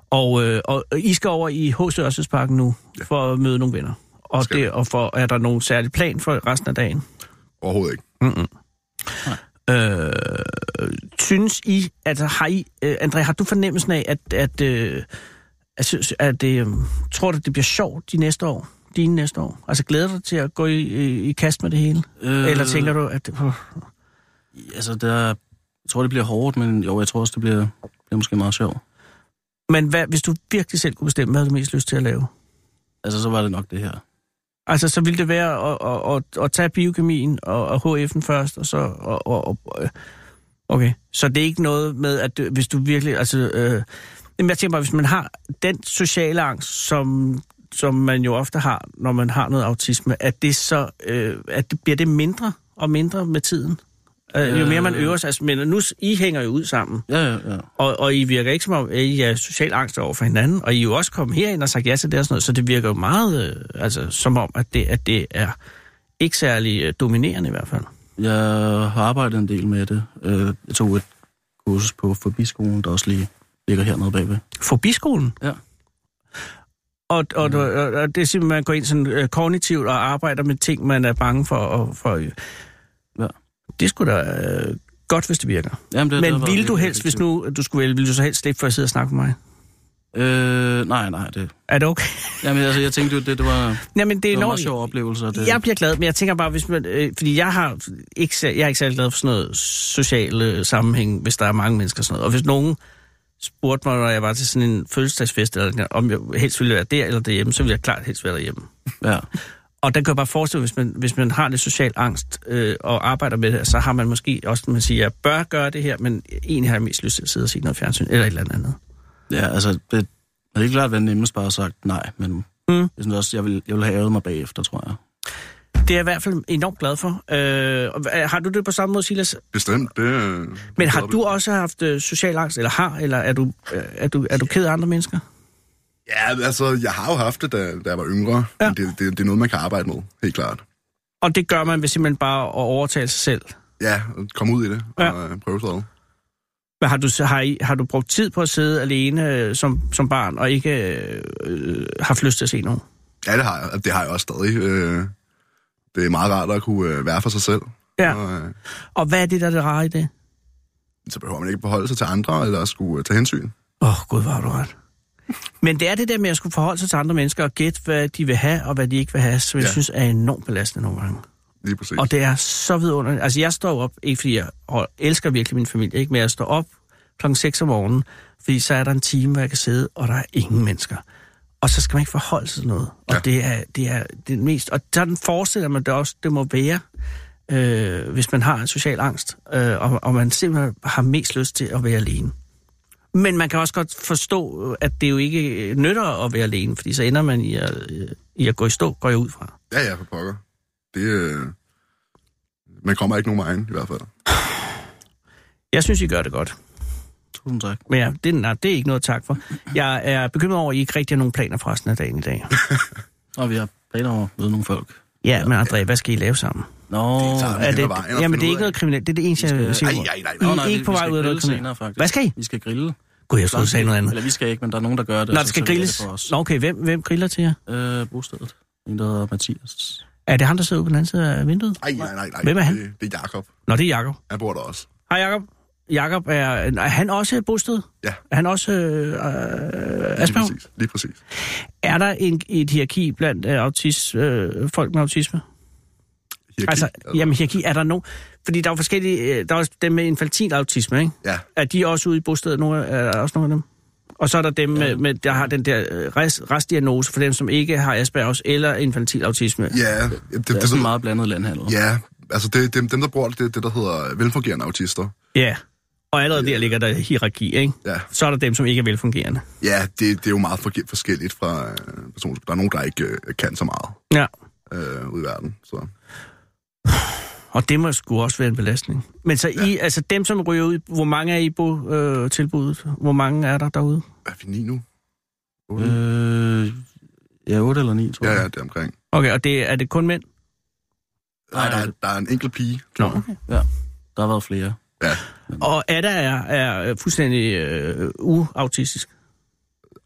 Speaker 4: Og, øh, og I skal over i H. Størrelsesparken nu for at møde nogle venner. Og,
Speaker 7: Skal vi.
Speaker 4: det, og for, er der nogen særlig plan for resten af dagen?
Speaker 7: Overhovedet ikke.
Speaker 4: Øh, synes I, altså har I, øh, André, har du fornemmelsen af, at, at, øh, at, synes- at det, øh, tror du, det bliver sjovt de næste år? Dine næste år? Altså glæder du dig til at gå i, i, i kast med det hele? Øh, Eller tænker du, at... Uh,
Speaker 6: Altså, der, jeg tror, det bliver hårdt, men jo, jeg tror også, det bliver, bliver måske meget sjovt.
Speaker 4: men hvad, hvis du virkelig selv kunne bestemme, hvad havde du mest lyst til at lave?
Speaker 6: Altså, så var det nok det her.
Speaker 4: Altså, så ville det være at, at, at, at tage biokemien og, og HF'en først, og så... Og, og, og, øh, okay, så det er ikke noget med, at du- hvis du virkelig... Altså, øh, jamen, jeg tænker bare, hvis man har den sociale angst, som, som man jo ofte har, når man har noget autisme, at det så... Øh, at det, bliver det mindre og mindre med tiden? Øh, jo mere man
Speaker 6: Øh.
Speaker 4: øver sig... Altså, men nu, I hænger jo ud sammen.
Speaker 6: Ja, ja, ja.
Speaker 4: Og, og I virker ikke som om, at I er social angst over for hinanden, og I er jo også kommet herind og sagt ja til det og sådan noget, så det virker jo meget øh, altså, som om, at det, at det er ikke særlig øh, dominerende i hvert fald.
Speaker 6: Jeg har arbejdet en del med det. Øh, Jeg tog et kursus på forbiskolen, der også lige ligger hernede bagved.
Speaker 4: Fobiskolen?
Speaker 6: Ja. Mm.
Speaker 4: Og, og, og, og, og det er simpelthen, man går ind sådan øh, kognitivt og arbejder med ting, man er bange for. Og, for øh,
Speaker 6: Ja.
Speaker 4: Det skulle da øh, godt, hvis det virker.
Speaker 6: Jamen, det, det
Speaker 4: Men
Speaker 6: var
Speaker 4: ville
Speaker 6: virkelig
Speaker 4: du helst, hvis
Speaker 6: effektivt.
Speaker 4: nu du skulle vælge, ville du så helst slippe for at sidde og snakke med mig?
Speaker 6: Øh, nej, nej, det...
Speaker 4: Er det okay?
Speaker 6: Jamen, altså, jeg tænkte jo, det, det var,
Speaker 4: Jamen, det er
Speaker 6: det var en
Speaker 4: enormt-
Speaker 6: meget sjov oplevelse. og Det,
Speaker 4: Jeg bliver glad, men jeg tænker bare, hvis man, øh, fordi jeg, har ikke, sær- jeg er ikke særlig glad for sådan noget sociale sammenhæng, hvis der er mange mennesker og sådan noget. Og hvis nogen spurgte mig, når jeg var til sådan en fødselsdagsfest, eller, om jeg helst ville være der eller derhjemme, så ville jeg klart helst være derhjemme.
Speaker 6: Ja.
Speaker 4: Og der kan jeg bare forestille mig, hvis man, hvis man har lidt social angst øh, og arbejder med det, så har man måske også, man siger, jeg bør gøre det her, men egentlig har jeg mest lyst til at sidde og se noget fjernsyn, eller et eller andet andet.
Speaker 6: ja, altså, det havde ikke klart været nemmest bare sagt nej, men
Speaker 4: Mm.
Speaker 6: mm. jeg, synes også, jeg, ville, jeg ville have ævet mig bagefter, tror jeg.
Speaker 4: Det er jeg i hvert fald enormt glad for. Øh, og hva- har du det på samme måde, Silas?
Speaker 7: Bestemt, det... øh,
Speaker 4: Men
Speaker 7: det
Speaker 4: har
Speaker 7: gør
Speaker 4: du
Speaker 7: vi.
Speaker 4: også haft øh, social angst, eller har, eller er du, øh, er du, er du ked af andre mennesker?
Speaker 7: Ja, altså, jeg har jo haft det, da, da jeg var yngre.
Speaker 4: Ja.
Speaker 7: Ja. Men det, det, det er noget, man kan arbejde med, helt klart.
Speaker 4: Og det gør man ved simpelthen bare at overtale sig selv.
Speaker 7: Ja, kom ud i det og øh,
Speaker 4: Ja.
Speaker 7: ja. prøve sig ad.
Speaker 4: Men har du, har, I, har du brugt tid på at sidde alene øh, som, som barn, og ikke øh, haft lyst til at se nogen?
Speaker 7: Ja, det har jeg. altså, Det har jeg også stadig. Øh, Det er meget rart at kunne øh, være for sig selv.
Speaker 4: Ja.
Speaker 7: Og, øh,
Speaker 4: Og hvad er det, der er det rare i det?
Speaker 7: så behøver man ikke forholde sig til andre, eller at skulle øh, tage hensyn.
Speaker 4: Åh, oh, gud, hvor har du ret. Men det er det der med at skulle forholde sig til andre mennesker og gætte, hvad de vil have og hvad de ikke vil have, som ja. jeg
Speaker 7: Ja.
Speaker 4: synes er enormt belastende nogle gange.
Speaker 7: Lige præcis.
Speaker 4: Og det er så vidunderligt. Altså, jeg står op, ikke fordi jeg hold- elsker virkelig min familie, ikke, men jeg står op klokken 6 om morgenen, fordi så er der en time, hvor jeg kan sidde, og der er ingen mennesker. Og så skal man ikke forholde sig til noget. Og ja.
Speaker 7: Ja.
Speaker 4: det er det er det mest... Og sådan forestiller man det også, det må være, øh, hvis man har en social angst, øh, og, og man simpelthen har mest lyst til at være alene. Men man kan også godt forstå, at det jo ikke øh, nytter at være alene, fordi så ender man i at, øh, i at gå i stå, går jeg ud fra.
Speaker 7: Ja, ja, for pokker. Det, øh, man kommer ikke nogen vejen, i hvert fald.
Speaker 4: Jeg synes, I gør det godt.
Speaker 6: Tusind tak.
Speaker 4: Men ja, det, nej, det er ikke noget tak for. Jeg er bekymret over, at I ikke rigtig har nogen planer for resten af dagen i dag.
Speaker 6: Og vi har planer over at møde nogle folk.
Speaker 4: Ja, men André, hvad skal I lave sammen?
Speaker 6: Nå,
Speaker 7: Det tager vi
Speaker 4: Er
Speaker 7: hen ad
Speaker 4: det,
Speaker 7: vejen og
Speaker 4: jamen,
Speaker 7: finder
Speaker 4: det er
Speaker 7: ud
Speaker 4: ikke
Speaker 7: af.
Speaker 4: noget kriminelt. Det er det eneste, jeg
Speaker 6: Vi
Speaker 4: vil
Speaker 6: skal-
Speaker 4: sige.
Speaker 7: Ej, ej, nej,
Speaker 4: I
Speaker 7: nej,
Speaker 4: er
Speaker 6: nej,
Speaker 4: ikke
Speaker 6: vi-
Speaker 4: på
Speaker 6: vi
Speaker 4: vej
Speaker 6: skal
Speaker 4: ud af noget
Speaker 6: grille senere,
Speaker 4: kriminelt.
Speaker 6: faktisk.
Speaker 4: Hvad skal I?
Speaker 6: Vi skal grille.
Speaker 4: Gud, jeg skulle have sagt noget andet.
Speaker 6: Eller vi skal ikke, men der er nogen, der gør det.
Speaker 4: Når
Speaker 6: og
Speaker 4: det
Speaker 6: så
Speaker 4: skal
Speaker 6: serverer
Speaker 4: grilles.
Speaker 6: det for os.
Speaker 4: Nå, okay, hvem, hvem griller til jer?
Speaker 6: Øh, bostedet. En, der hedder Mathias.
Speaker 4: Er det ham, der sidder ude på den anden side af vinduet?
Speaker 7: Ej, nej, nej, nej.
Speaker 4: Hvem er han?
Speaker 7: Det, det er Jakob.
Speaker 4: Nå, det er Jakob.
Speaker 7: Han bor der også.
Speaker 4: Hej, Jakob. Jakob er, er han også bosted?
Speaker 7: Ja.
Speaker 4: Er han også øh, øh,
Speaker 7: Lige
Speaker 4: Asperger?
Speaker 7: præcis. Lige præcis.
Speaker 4: Er der en, et hierarki blandt øh, autis, øh, folk med autisme?
Speaker 7: hierarki.
Speaker 4: Altså,
Speaker 7: eller-
Speaker 4: jamen, hierarki, er der nogen... Fordi der er jo forskellige... øh, Der er også dem med infantil autisme, ikke?
Speaker 7: Ja.
Speaker 4: Er de også ude i bostedet? Nogle, af- er der også nogle af dem? Og så er der dem, med, med, der har den der øh, rest, restdiagnose for dem, som ikke har Aspergers eller infantil autisme. Ja.
Speaker 7: Ja, det, det,
Speaker 6: Det er sådan
Speaker 7: det,
Speaker 6: meget blandet landhandel.
Speaker 7: ja altså det, dem, dem, der bruger det, det, der hedder velfungerende autister.
Speaker 4: ja. Og allerede der ligger der hierarki, ikke?
Speaker 7: Ja.
Speaker 4: Så er der dem, som ikke er velfungerende.
Speaker 7: Ja, det, det er jo meget forke- forskelligt fra øh, person. Der er nogen, der ikke øh, kan så meget
Speaker 4: Ja.
Speaker 7: øh, ude i verden. Så.
Speaker 4: Og det må sgu også være en belastning. Men så ja. I, altså dem, som ryger ud, hvor mange er I på øh, tilbuddet? Hvor mange er der derude?
Speaker 7: Hvad er vi ni nu? Otte?
Speaker 6: Øh, ja, 8 eller 9, tror
Speaker 7: ja,
Speaker 6: jeg.
Speaker 7: ja, det er omkring.
Speaker 4: Okay, og det, er det kun mænd?
Speaker 7: Nej, der, er- der er en enkelt pige.
Speaker 4: Nå, okay.
Speaker 6: Der har været flere.
Speaker 7: Ja,
Speaker 4: Og Ada er, er fuldstændig øh, uautistisk.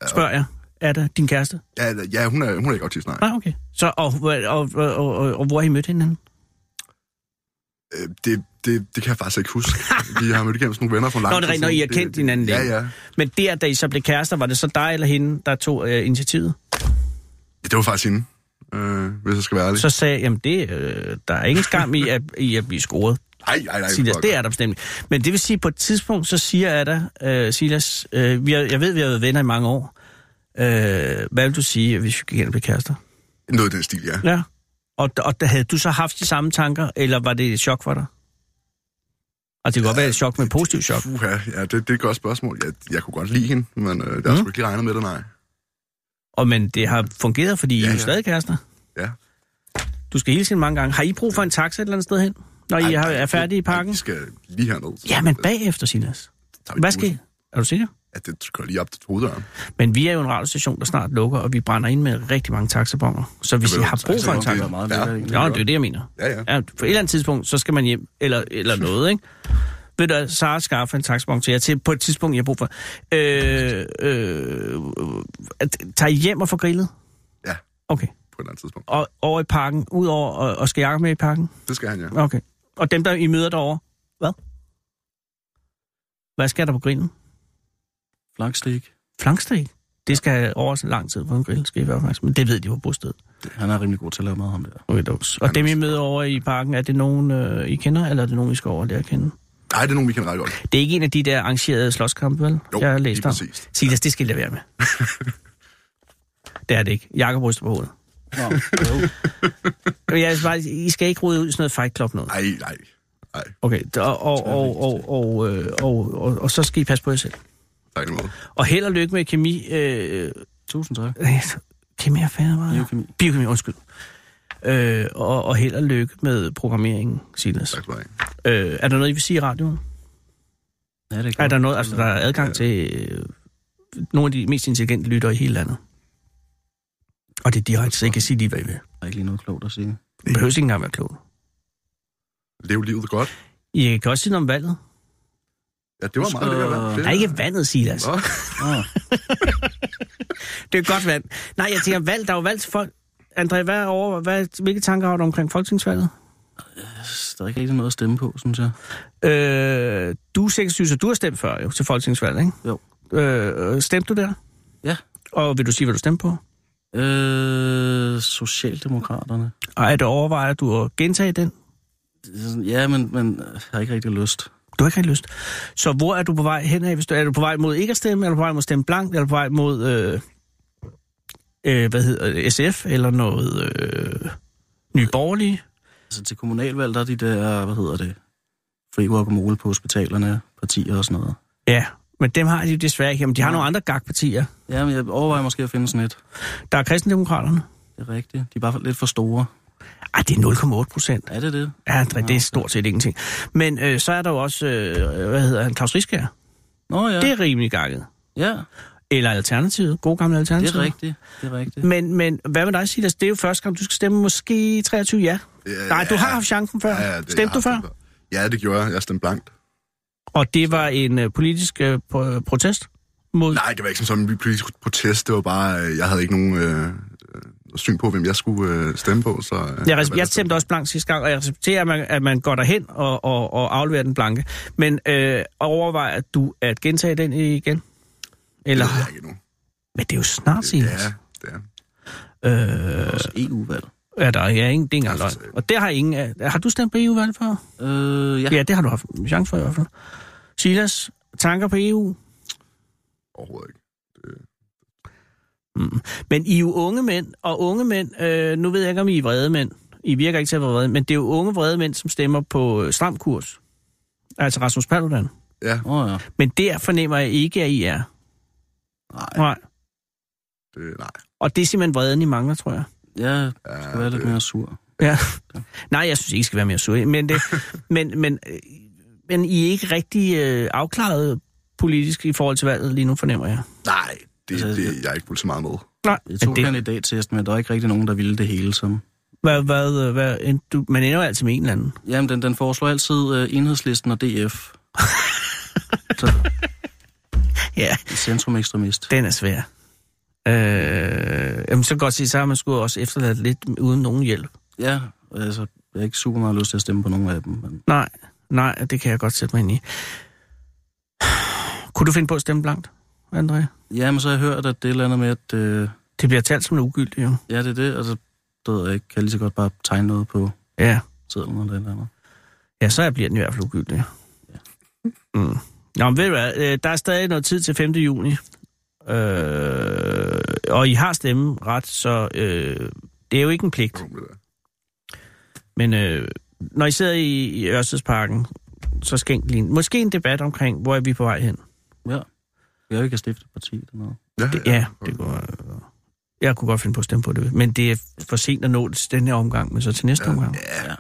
Speaker 4: Spørger jeg. Ada, din kæreste?
Speaker 7: ja, der- ja hun, er, hun er ikke autist, nej.
Speaker 4: Nej, okay. Så, og, og, og, og, og, og hvor har I mødt hinanden?
Speaker 7: Øh, det, det, det kan jeg faktisk ikke huske. vi har mødt igennem sådan nogle venner for lang
Speaker 4: Nå, det er rigtigt, når I har
Speaker 7: siden.
Speaker 4: kendt hinanden
Speaker 7: Ja,
Speaker 4: længe.
Speaker 7: ja.
Speaker 4: Men der, da I så blev kærester, var det så dig eller hende, der tog øh, initiativet?
Speaker 7: Ja, Det var faktisk hende, øh, hvis jeg skal være ærlig.
Speaker 4: Så sagde jeg, jamen det, øh, der er ingen skam i at, i at blive scoret.
Speaker 7: Nej, nej, nej.
Speaker 4: Silas,
Speaker 7: fuck.
Speaker 4: det er der bestemt. ikke. Men det vil sige, på et tidspunkt, så siger Ada, øh, Silas, øh, vi har, jeg ved, vi har været venner i mange år. Øh, hvad vil du sige, hvis vi gik hen og blev kærester?
Speaker 7: Noget i den stil, ja.
Speaker 4: Ja. Og, og der havde du så haft de samme tanker, eller var det et chok for dig? Og det kan godt være et chok, men et positivt chok.
Speaker 7: Uha, ja, det, det er et godt spørgsmål. Jeg, jeg kunne godt lide hende, men øh,
Speaker 4: Mm.
Speaker 7: jeg har sgu ikke lige regnet med det, nej.
Speaker 4: Og men det har fungeret, fordi ja, I er
Speaker 7: Ja,
Speaker 4: jo
Speaker 7: ja.
Speaker 4: stadig kærester.
Speaker 7: Ja.
Speaker 4: Du skal hilse hende mange gange. Har I brug for en taxa et eller andet sted hen, når I har, er færdige i
Speaker 7: Ej,
Speaker 4: parken?
Speaker 7: Vi skal lige herned. så-
Speaker 4: Ja, men bagefter, Silas.
Speaker 7: så tager vi
Speaker 4: Hvad
Speaker 7: bussen.
Speaker 4: skal I? Er du sikker?
Speaker 7: Ja, det kører lige op til hoveddøren.
Speaker 4: Men vi er jo en radiostation, der snart lukker, og vi brænder ind med rigtig mange taxabonger. Så hvis
Speaker 7: ved
Speaker 4: I
Speaker 7: du,
Speaker 4: har brug for en
Speaker 7: taxabonger,
Speaker 4: taxa...
Speaker 6: Det er meget
Speaker 7: Ja.
Speaker 6: lækkert, egentlig.
Speaker 4: Nå, det er jo det, jeg mener.
Speaker 7: Ja, ja.
Speaker 4: Ja, på et eller andet tidspunkt, så skal man hjem, eller, eller noget, ikke? Ved du, hvad, Sara skaffer en taxabon til jer til på et tidspunkt, jeg har brug for. Øh, øh, at, tager I hjem og får grillet?
Speaker 7: Ja,
Speaker 4: Okay.
Speaker 7: på et eller andet tidspunkt.
Speaker 4: Og over i parken, ud over, og, og skal Jacob med i parken?
Speaker 7: Det skal han, ja.
Speaker 4: Okay. Og dem, der I møder derovre, hvad? Hvad skal der på grillen?
Speaker 6: Flankstik.
Speaker 4: Flanksteg? Det skal over så lang tid på en grill, skal I være opmærksom. Men det ved de på bostedet.
Speaker 6: Han er rimelig god til at lave mad, ham der.
Speaker 4: Okay, duks. Og dem, I møder over i parken, er det nogen, øh, I kender, eller er det nogen, I skal over og lære at kende?
Speaker 7: Nej, det er nogen, vi kan ret godt.
Speaker 4: Det er ikke en af de der arrangerede slåskampe, vel?
Speaker 7: Jo,
Speaker 4: jeg har
Speaker 7: lige
Speaker 4: læst om.
Speaker 7: præcis.
Speaker 4: Silas, det skal I lade være med. det er det ikke. Jakob ryster på hovedet.
Speaker 6: Nå, jo.
Speaker 4: Men Jeg vil bare, I skal ikke rode ud i sådan noget fight club noget.
Speaker 7: Nej, nej. Nej,
Speaker 4: Okay, d- og, og, og, og, og, øh, og, og, og, så skal I passe på jer selv.
Speaker 7: tak i lige måde.
Speaker 4: Og held og lykke med kemi... Øh,
Speaker 6: Tusind tak.
Speaker 4: øh, kemi og fanden, var det?
Speaker 6: Biokemi.
Speaker 4: Biokemi, undskyld. Øh, og, og held og lykke med programmeringen, Silas.
Speaker 7: Tak skal du have.
Speaker 4: Øh, er der noget, I vil sige i radioen?
Speaker 6: Ja, det
Speaker 4: Er der noget, altså der er adgang til øh, nogle af de mest intelligente lyttere i hele landet? Og det er direkte, så I kan sige lige, hvad I vil.
Speaker 6: Der er ikke lige noget klogt at sige.
Speaker 4: I behøver ikke engang være klog.
Speaker 7: Lev livet godt.
Speaker 4: I kan også sige noget om valget.
Speaker 7: Ja, det var
Speaker 6: Husk
Speaker 7: meget lækkert.
Speaker 6: at-
Speaker 7: hva'? Fedt.
Speaker 4: Nej, ikke vandet, Silas.
Speaker 7: Nå,
Speaker 6: Ah,
Speaker 4: Det er godt vand. Nej, jeg tænker valg. Der er jo valgt folk. André, hvad er over, hvad, hvilke tanker har du omkring folketingsvalget?
Speaker 6: der er ikke rigtig noget at stemme på, synes jeg.
Speaker 4: Øh, du er 26, så du har stemt før jo, til folketingsvalget, ikke?
Speaker 6: Jo.
Speaker 4: Øh, stemte du der?
Speaker 6: Ja.
Speaker 4: Og vil du sige, hvad du stemte på?
Speaker 6: Øh, Socialdemokraterne.
Speaker 4: Og er det overvejer du at gentage den?
Speaker 6: Det er sådan- Ja, men, men jeg har ikke rigtig lyst.
Speaker 4: Du har ikke rigtig lyst. Så hvor er du på vej hen af? Hvis du, er du på vej mod ikke at stemme? Er du på vej mod at stemme blankt? Er du på vej mod, øh, øh, hvad hedder det, SF? Eller noget øh, Nye Borgerlige?
Speaker 6: Altså til kommunalvalg, der er de der, hvad hedder det, fri guacamole på hospitalerne, partier og sådan noget.
Speaker 4: Ja, men dem har de jo desværre ikke. Men de har nogle andre gag-partier.
Speaker 6: Ja, men jeg overvejer måske at finde sådan et.
Speaker 4: Der er kristendemokraterne.
Speaker 6: Det er rigtigt. De er bare lidt for store.
Speaker 4: Ej, det er 0,8 procent.
Speaker 6: Er det det?
Speaker 4: Ja, André, det er stort set ingenting. Men øh, så er der jo også, øh, hvad hedder han, Claus Rieskjær.
Speaker 6: Nå ja.
Speaker 4: Ja. Det er rimelig gakket.
Speaker 6: Ja,
Speaker 4: Eller Alternativet. God gammel
Speaker 6: det
Speaker 4: Alternativet.
Speaker 6: er rigtigt. Det er rigtigt.
Speaker 4: Men, men hvad med dig, Silas? Det er jo første gang, du skal stemme måske 23 ja.
Speaker 7: Ja,
Speaker 4: Nej, du har
Speaker 7: ja.
Speaker 4: haft chancen før.
Speaker 7: Ja, ja, det- jeg
Speaker 4: Stemte
Speaker 7: har
Speaker 4: du før?
Speaker 7: stemt Ja, det gjorde jeg. Jeg stemte blankt.
Speaker 4: Og det var en øh, politisk øh, pro- protest mod...
Speaker 7: Nej, det var ikke som sådan en politisk protest. Det var bare, øh, jeg havde ikke nogen øh, øh, syn på, hvem jeg skulle øh, stemme på. Så, øh,
Speaker 4: Jeg, res-
Speaker 7: valgte
Speaker 4: jeg
Speaker 7: at stemme
Speaker 4: stemte også blank sidste gang, og jeg respekterer, at man, at man går derhen og, og, og afleverer den blanke. Men øh, overvejer du at gentage den igen? Eller...
Speaker 7: Det ved jeg ikke endnu.
Speaker 4: Men det er jo snart,
Speaker 7: Det, det
Speaker 4: Silas.
Speaker 7: er, det er.
Speaker 4: Øh,
Speaker 6: E Også EU-valg.
Speaker 4: Ja, der er ja, ingen, det er ikke engang løgn. Og der har ingen... af- Har du stemt på EU-valget før?
Speaker 6: Øh, ja.
Speaker 4: Ja. ja, det har du haft en chance for i hvert fald. Silas, tanker på E EU?
Speaker 7: Overhovedet ikke.
Speaker 4: Men I er jo unge mænd, og unge mænd, øh, nu ved jeg ikke, om I er vrede mænd. I virker ikke til at være vrede, men det er jo unge vrede mænd, som stemmer på øh, stram kurs. Altså Rasmus Paludan.
Speaker 7: Ja,
Speaker 6: Åh oh, ja.
Speaker 4: Men der fornemmer jeg ikke, at I er.
Speaker 6: Nej.
Speaker 4: Nej.
Speaker 7: det, nej.
Speaker 4: Og det er simpelthen vreden, I mangler, tror jeg.
Speaker 6: Ja, jeg skal være
Speaker 7: Øh,
Speaker 6: lidt mere sur.
Speaker 4: Ja. Nej, jeg synes ikke, I skal være mere sur. Men, det, men, men, øh, men I er ikke rigtig øh, afklaret politisk i forhold til valget lige nu, fornemmer jeg.
Speaker 7: Nej, det,
Speaker 6: Altså,
Speaker 7: det jeg er ikke fuldt så meget med.
Speaker 4: Nej,
Speaker 6: Jeg
Speaker 4: men
Speaker 6: tog det...
Speaker 4: det,
Speaker 6: kandidattest, men der var ikke rigtig nogen, der ville det hele. Som...
Speaker 4: hvad, hvad, øh, hvad, end du, man ender jo altid med en eller anden.
Speaker 6: Jamen, den, den foreslår altid uh, enhedslisten og DF. så,
Speaker 4: Ja,
Speaker 6: centrum ekstremist.
Speaker 4: den er svær. Øh, jamen, så kan jeg godt sige, så har man sgu også efterladt lidt uden nogen hjælp.
Speaker 6: Ja, altså, jeg har ikke super meget lyst til at stemme på nogen af dem. Men...
Speaker 4: Nej, nej, det kan jeg godt sætte mig ind i. Kunne du finde på at stemme blankt, André?
Speaker 6: Ja, men så har jeg hørt, at det er et eller andet med, at... Øh,
Speaker 4: Det bliver talt som en ugyldig, jo.
Speaker 6: ja, det er det, altså, det ved jeg ikke. Kan jeg lige så godt bare tegne noget på
Speaker 4: Ja.
Speaker 6: sædlen eller et eller andet.
Speaker 4: Ja, så bliver den i hvert fald ugyldig. Mm. Nå, men ved du hvad, øh, der er stadig noget tid til 5. juni. Øh, og I har stemmeret, så øh, det er jo ikke en pligt.
Speaker 7: Forhåbentlig da.
Speaker 4: Men øh, når I sidder i, i Ørstedsparken, så skænk lige en, måske en debat omkring, hvor er vi på vej hen.
Speaker 6: Ja. Jeg er jo ikke at stifte et parti eller noget.
Speaker 7: Ja,
Speaker 4: Det, ja, det kunne, øh, jeg kunne godt finde på at stemme på det. Men det er for sent at nå det til den her omgang, men så til næste omgang.
Speaker 6: Ja.
Speaker 7: Der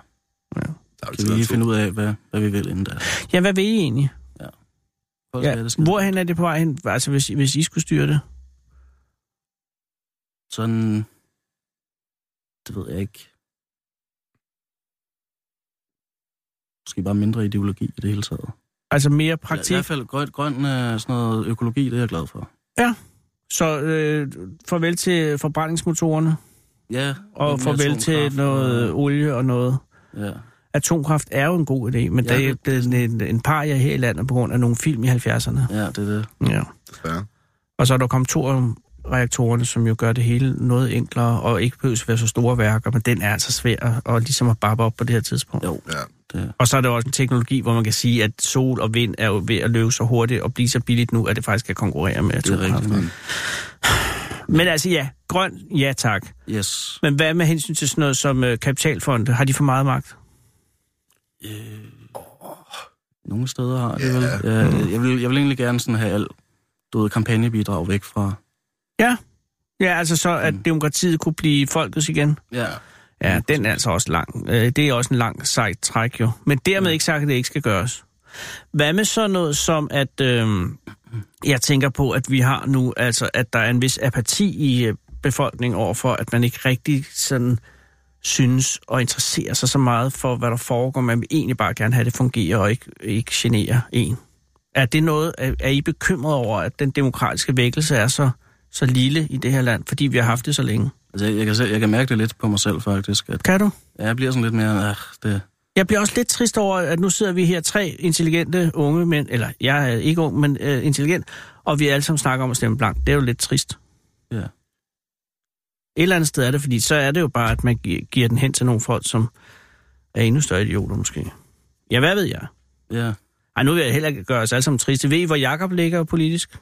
Speaker 7: er jo
Speaker 6: Kan vi
Speaker 7: tid
Speaker 6: lige
Speaker 7: til.
Speaker 6: finde ud af, hvad, hvad vi vil inden da?
Speaker 4: Ja, hvad vil I egentlig?
Speaker 6: Folk
Speaker 4: Ja,
Speaker 6: skal have det skidt.
Speaker 4: hvorhen er det på vej hen, altså, hvis, I- hvis I skulle styre det?
Speaker 6: Sådan... Det ved jeg ikke. Måske bare mindre ideologi i det hele taget.
Speaker 4: Altså mere
Speaker 6: Praktik. I
Speaker 4: praktik?
Speaker 6: hvert fald grøn, grøn er sådan noget økologi, det er jeg glad for.
Speaker 4: Så øh, farvel til forbrændingsmotorerne,
Speaker 6: Ja.
Speaker 4: og
Speaker 6: lidt mere
Speaker 4: farvel
Speaker 6: atomkraft,
Speaker 4: til noget
Speaker 6: og-
Speaker 4: olie og noget.
Speaker 6: Ja.
Speaker 4: Atomkraft er jo en god idé, men
Speaker 6: Ja,
Speaker 4: ja, det er jo
Speaker 6: det-
Speaker 4: blevet sådan en, en par, jeg her i landet på grund af nogle film i 70'erne.
Speaker 6: ja, det er det.
Speaker 4: Ja.
Speaker 7: Desværre.
Speaker 4: Og så er der kommet thoriumreaktorerne, som jo gør det hele noget enklere, og ikke behøves at være så store værker, men den er altså svær at- at ligesom at bappe op på det her tidspunkt.
Speaker 6: Jo.
Speaker 7: Ja.
Speaker 4: Og så er der også en teknologi, hvor man kan sige, at sol og vind er jo ved at løbe så hurtigt og blive så billigt nu, at det faktisk kan konkurrere med
Speaker 6: Det er
Speaker 4: atomkraft.
Speaker 6: rigtigt.
Speaker 4: Men altså ja, grøn, ja tak.
Speaker 6: Yes.
Speaker 4: Men hvad med hensyn til sådan noget som øh, kapitalfonde? Har de for meget magt?
Speaker 6: Øh, nogle steder har det vel.
Speaker 7: Ja.
Speaker 6: Ja, jeg, vil, jeg vil egentlig gerne sådan have alt du ved, kampagnebidrag væk fra...
Speaker 4: Ja, altså så, at
Speaker 6: Mm.
Speaker 4: demokratiet kunne blive folkets igen.
Speaker 6: Ja,
Speaker 4: Ja, den er altså også lang. Øh, det er også en lang, sejt træk jo. Men dermed ikke sagt, at det ikke skal gøres. Hvad med sådan noget som, at øh, jeg tænker på, at vi har nu, altså at der er en vis apati i øh, befolkningen overfor, at man ikke rigtig sådan synes og interesserer sig så meget for, hvad der foregår. Man vil egentlig bare gerne have, at det fungerer og ikke, ikke generer en. Er det noget, er, er I bekymret over, at den demokratiske vækkelse er så, så lille i det her land, fordi vi har haft det så længe?
Speaker 6: altså jeg, jeg, kan, selv- jeg kan mærke det lidt på mig selv faktisk, at
Speaker 4: Kan du?
Speaker 6: ja, jeg bliver sådan lidt mere... Ah, det,
Speaker 4: Jeg bliver også lidt trist over, at nu sidder vi her tre intelligente unge mænd, eller jeg er ikke ung, men øh, intelligent, og vi alle sammen snakker om at stemme blank. Det er jo lidt trist.
Speaker 6: ja.
Speaker 4: Et eller andet sted er det, fordi så er det jo bare, at man gi- giver den hen til nogle folk, som er endnu større idioter måske. Ja, hvad ved jeg?
Speaker 6: ja.
Speaker 4: Ej, nu vil jeg heller ikke gøre os alle sammen triste. Ved I, hvor Jakob ligger politisk?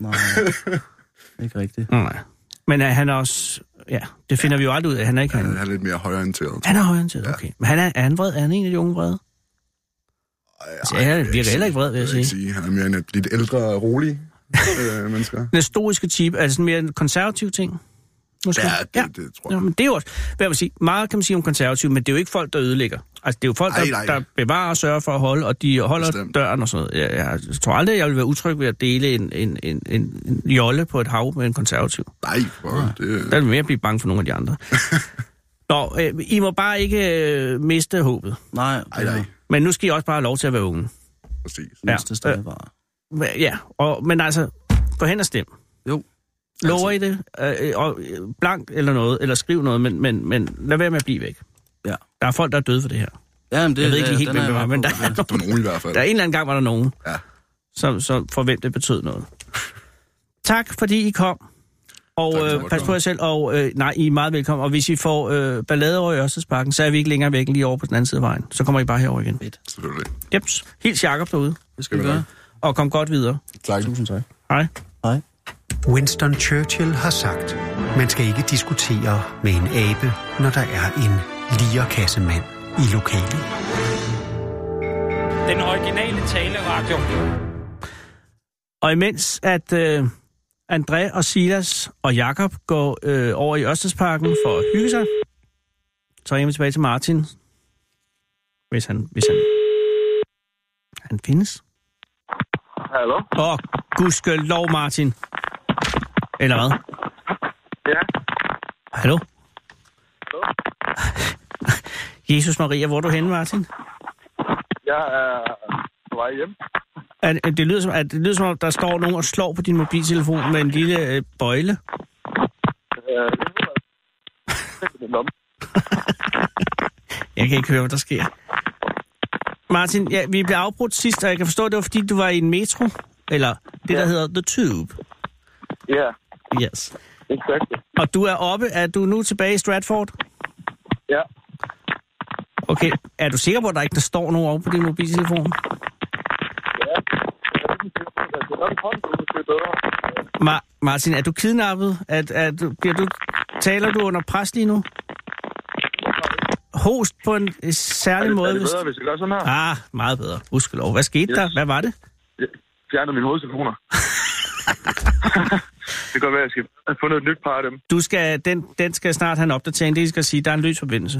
Speaker 6: Nej, ikke rigtigt.
Speaker 4: Nej. Men er han også... Ja, det finder vi jo aldrig ud af. Han er ikke
Speaker 7: Han
Speaker 4: han.
Speaker 7: er lidt mere højorienteret.
Speaker 4: Han er højorienteret, okay. Men han er, er han vred? Er han en af de unge vrede? Altså,
Speaker 7: Ej,
Speaker 4: han
Speaker 7: jeg vil
Speaker 4: virker
Speaker 7: sige-
Speaker 4: heller ikke vred, vil jeg
Speaker 7: ikke
Speaker 4: sige.
Speaker 7: sige. Han er mere en af de lidt ældre og rolige øh, mennesker.
Speaker 4: Den stoiske type, er det sådan mere en konservativ ting? Måske?
Speaker 7: Ja, det, det tror
Speaker 4: Ja,
Speaker 7: jeg.
Speaker 4: men det er jo også, hvad man sige, meget kan man sige om konservative, men det er jo ikke folk, der ødelægger. Altså, det er jo folk,
Speaker 7: Ej,
Speaker 4: der,
Speaker 7: nej.
Speaker 4: der bevarer og sørger for at holde, og de holder Bestemt.
Speaker 7: Bestemt.
Speaker 4: døren og sådan noget. Jeg, jeg, jeg tror aldrig, jeg vil være utryg ved at dele en, en, en, en, en jolle på et hav med en konservativ.
Speaker 7: Nej, for det...
Speaker 4: Der vil jeg mere blive bange for nogle af de andre. Nå, øh, I må bare ikke øh, miste håbet.
Speaker 6: Nej,
Speaker 7: Ej, nej,
Speaker 4: Men nu skal I også bare have lov til at være unge.
Speaker 7: præcis.
Speaker 4: Ja.
Speaker 6: Ja. Det stadig var.
Speaker 4: Hva- Ja, og, men altså, gå hen og stem.
Speaker 6: Jo.
Speaker 4: Lover
Speaker 6: Altså-
Speaker 4: I det? Øh, og, øh, blankt eller noget, eller skriv noget, men, men, men lad være med at blive væk.
Speaker 6: Ja.
Speaker 4: Der er folk, der er døde for det her.
Speaker 6: Ja, men det,
Speaker 4: Jeg ved ikke lige helt,
Speaker 6: den er
Speaker 4: hvem det var,
Speaker 6: jeg
Speaker 4: men
Speaker 6: med
Speaker 4: der
Speaker 6: på.
Speaker 4: er
Speaker 7: Det var nogen i hvert fald.
Speaker 4: Der er en eller anden gang var der nogen,
Speaker 7: Ja.
Speaker 4: som, som for hvem det betød noget. Tak fordi I kom. Og
Speaker 7: Tak, tak,
Speaker 4: øh,
Speaker 7: tak.
Speaker 4: pas på jer selv, og øh, nej, I er meget velkommen. Og hvis I får øh, ballade over i Ørstedsparken, så er vi ikke længere væk end lige over på den anden side af vejen. Så kommer I bare herover igen.
Speaker 7: Selvfølgelig.
Speaker 4: Jeps, helt Jakob derude,
Speaker 6: Det skal vi
Speaker 7: Skal vi
Speaker 6: gøre.
Speaker 4: og kom godt videre.
Speaker 7: Tak.
Speaker 6: Tusind tak.
Speaker 4: Hej.
Speaker 6: Hej.
Speaker 2: Winston Churchill har sagt, man skal ikke diskutere med en abe, når der er en lierkassemand i lokalet.
Speaker 8: Den originale taleradio.
Speaker 4: Og imens at øh, André og Silas og Jakob går øh, over i Ørstedsparken for at hygge sig, så ringer vi tilbage til Martin, hvis han, hvis han, han findes.
Speaker 3: Hallo?
Speaker 4: Åh, gudskelov, Martin. Eller hvad?
Speaker 3: Ja.
Speaker 4: Hallo? Jesus Maria, hvor er du henne, Martin?
Speaker 3: Jeg er på vej hjem.
Speaker 4: At, at det, lyder som, at det lyder som om, der står nogen og slår på din mobiltelefon med en lille øh, bøjle.
Speaker 3: Øh, jeg ved, at- Jeg ved, at-
Speaker 4: Jeg kan ikke høre, hvad der sker. Martin, ja, vi blev afbrudt sidst, og jeg kan forstå, at det var, fordi du var i en metro. Eller det, der
Speaker 3: Ja.
Speaker 4: hedder The Tube.
Speaker 3: Ja,
Speaker 4: Yes.
Speaker 3: exakt.
Speaker 4: Og du er oppe. Er du nu tilbage i Stratford?
Speaker 3: Ja.
Speaker 4: Okay. Er du sikker på, at der ikke der står nogen over på din mobiltelefon?
Speaker 3: Ja. Jeg er ikke sikker på, at det er nok en hånd, du måske bedre.
Speaker 4: Ma- Martin, er du kidnappet? Er, er, du- bliver du, taler du under pres lige nu? Host på en øh,
Speaker 3: Er
Speaker 4: særlig
Speaker 3: det,
Speaker 4: måde.
Speaker 3: er det
Speaker 4: hvis-
Speaker 3: bedre, hvis jeg gør sådan her?
Speaker 4: Ah, meget bedre. Gudskelov. Hvad skete
Speaker 3: Yes.
Speaker 4: der? Hvad var det?
Speaker 3: Jeg fjerner mine hovedtelefoner. det kan godt være, at jeg skal have fundet et nyt par af dem.
Speaker 4: du skal, den, den skal snart have en opdatering. Det jeg skal sige, der er en løs forbindelse.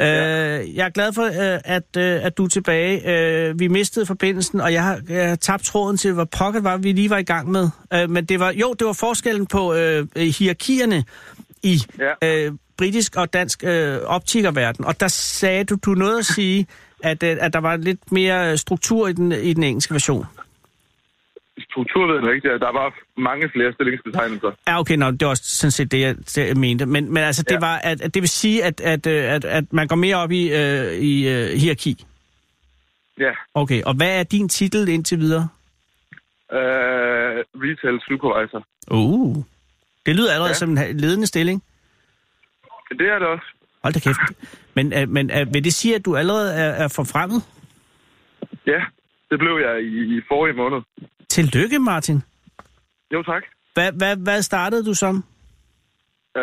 Speaker 4: Øh, jeg er glad for, øh, at, øh, at du er tilbage. Øh, vi mistede forbindelsen, og jeg har, jeg har tabt tråden til, hvad pokker var, vi lige var i gang med. Øh, men det var, jo, det var forskellen på øh, øh, hierarkierne i
Speaker 3: Ja.
Speaker 4: øh, britisk og dansk øh, optikerverden. Og der sagde du, du nåede at sige, at, øh, at der var lidt mere øh, struktur i den, i den engelske version.
Speaker 3: Struktur ved jeg ikke, der er bare mange flere stillingsbetegnelser.
Speaker 4: Ja, okay, nå, det var også sådan set det, jeg, det, jeg mente. Men, men altså, det
Speaker 3: Ja.
Speaker 4: var, at, at det vil sige, at, at, øh, at, at man går mere op i, øh, i øh, hierarki.
Speaker 3: Ja.
Speaker 4: Okay, og hvad er din titel indtil videre?
Speaker 3: Øh, retail supervisor.
Speaker 4: Uh. Det lyder allerede ja.
Speaker 3: Ja.
Speaker 4: som en ha- ledende stilling.
Speaker 3: Men det er det også.
Speaker 4: Hold da kæft. Men, øh, men øh, vil det sige, at du allerede er, er forfremmet?
Speaker 3: Ja, det blev jeg i, i forrige måned.
Speaker 4: Tillykke, Martin.
Speaker 3: Jo, tak.
Speaker 4: Hvad, hvad, hvad startede du som?
Speaker 3: Øh,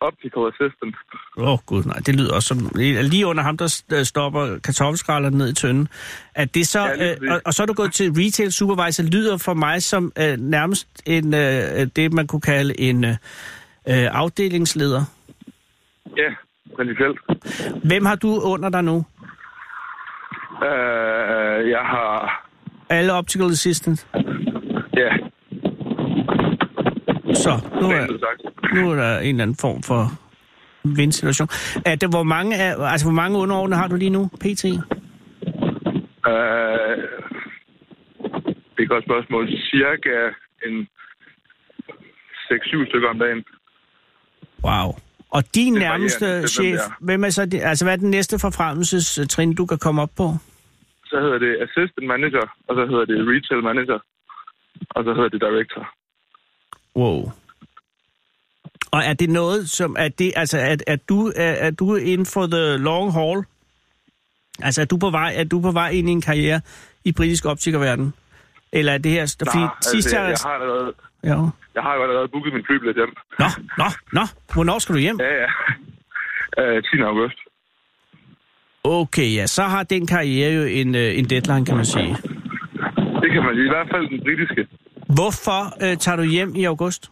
Speaker 3: optical assistant.
Speaker 4: Åh oh, gud, nej, det lyder også som... Lige under ham, der s- øh, stopper kartoffelskrællerne ned i tønden. At det så,
Speaker 3: Ja, lige
Speaker 4: ja, øh,
Speaker 3: præcis.
Speaker 4: og, og så er du gået til retail supervisor, lyder for mig som øh, nærmest en, øh, det, man kunne kalde en øh, øh, afdelingsleder.
Speaker 3: Ja, principielt.
Speaker 4: Hvem har du under dig nu?
Speaker 3: Øh, jeg har...
Speaker 4: Alle optical assistant.
Speaker 3: Ja,
Speaker 4: Så, nu er,
Speaker 3: rent ud sagt.
Speaker 4: nu er der en eller anden form for vindsituation. Er det, hvor, mange er, altså, hvor mange underordnede har du lige nu, PT?
Speaker 3: Øh, det er et godt spørgsmål. Cirka en 6-7 stykker om dagen.
Speaker 4: Wow. Og din
Speaker 3: Det varierer lidt,
Speaker 4: nærmeste
Speaker 3: hvem
Speaker 4: chef,
Speaker 3: det er.
Speaker 4: hvem er så, det- altså hvad er den næste forfremmelsestrin, du kan komme op på?
Speaker 3: Så hedder det assistant manager, og så hedder det retail manager, og så hedder det director.
Speaker 4: Wow. Og er det noget, som er det, altså at, at du er, er du inden for the long haul? Altså er du på vej, er du på vej ind i en karriere i britisk optikerverden? Eller er det her, fordi
Speaker 3: Nej, altså,
Speaker 4: nah, sidst
Speaker 3: jeg,
Speaker 4: jeg...
Speaker 3: jeg, har allerede,
Speaker 4: Ja.
Speaker 3: jeg har jo allerede booket min flybillet hjem.
Speaker 4: Nå, nå, nå. Hvornår skal du hjem?
Speaker 3: Ja, ja. Øh, 10. august.
Speaker 4: Okay, ja, så har den karriere jo en, øh, en deadline, kan man sige.
Speaker 3: Det kan man sige. I hvert fald den britiske.
Speaker 4: Hvorfor øh, tager du hjem i august?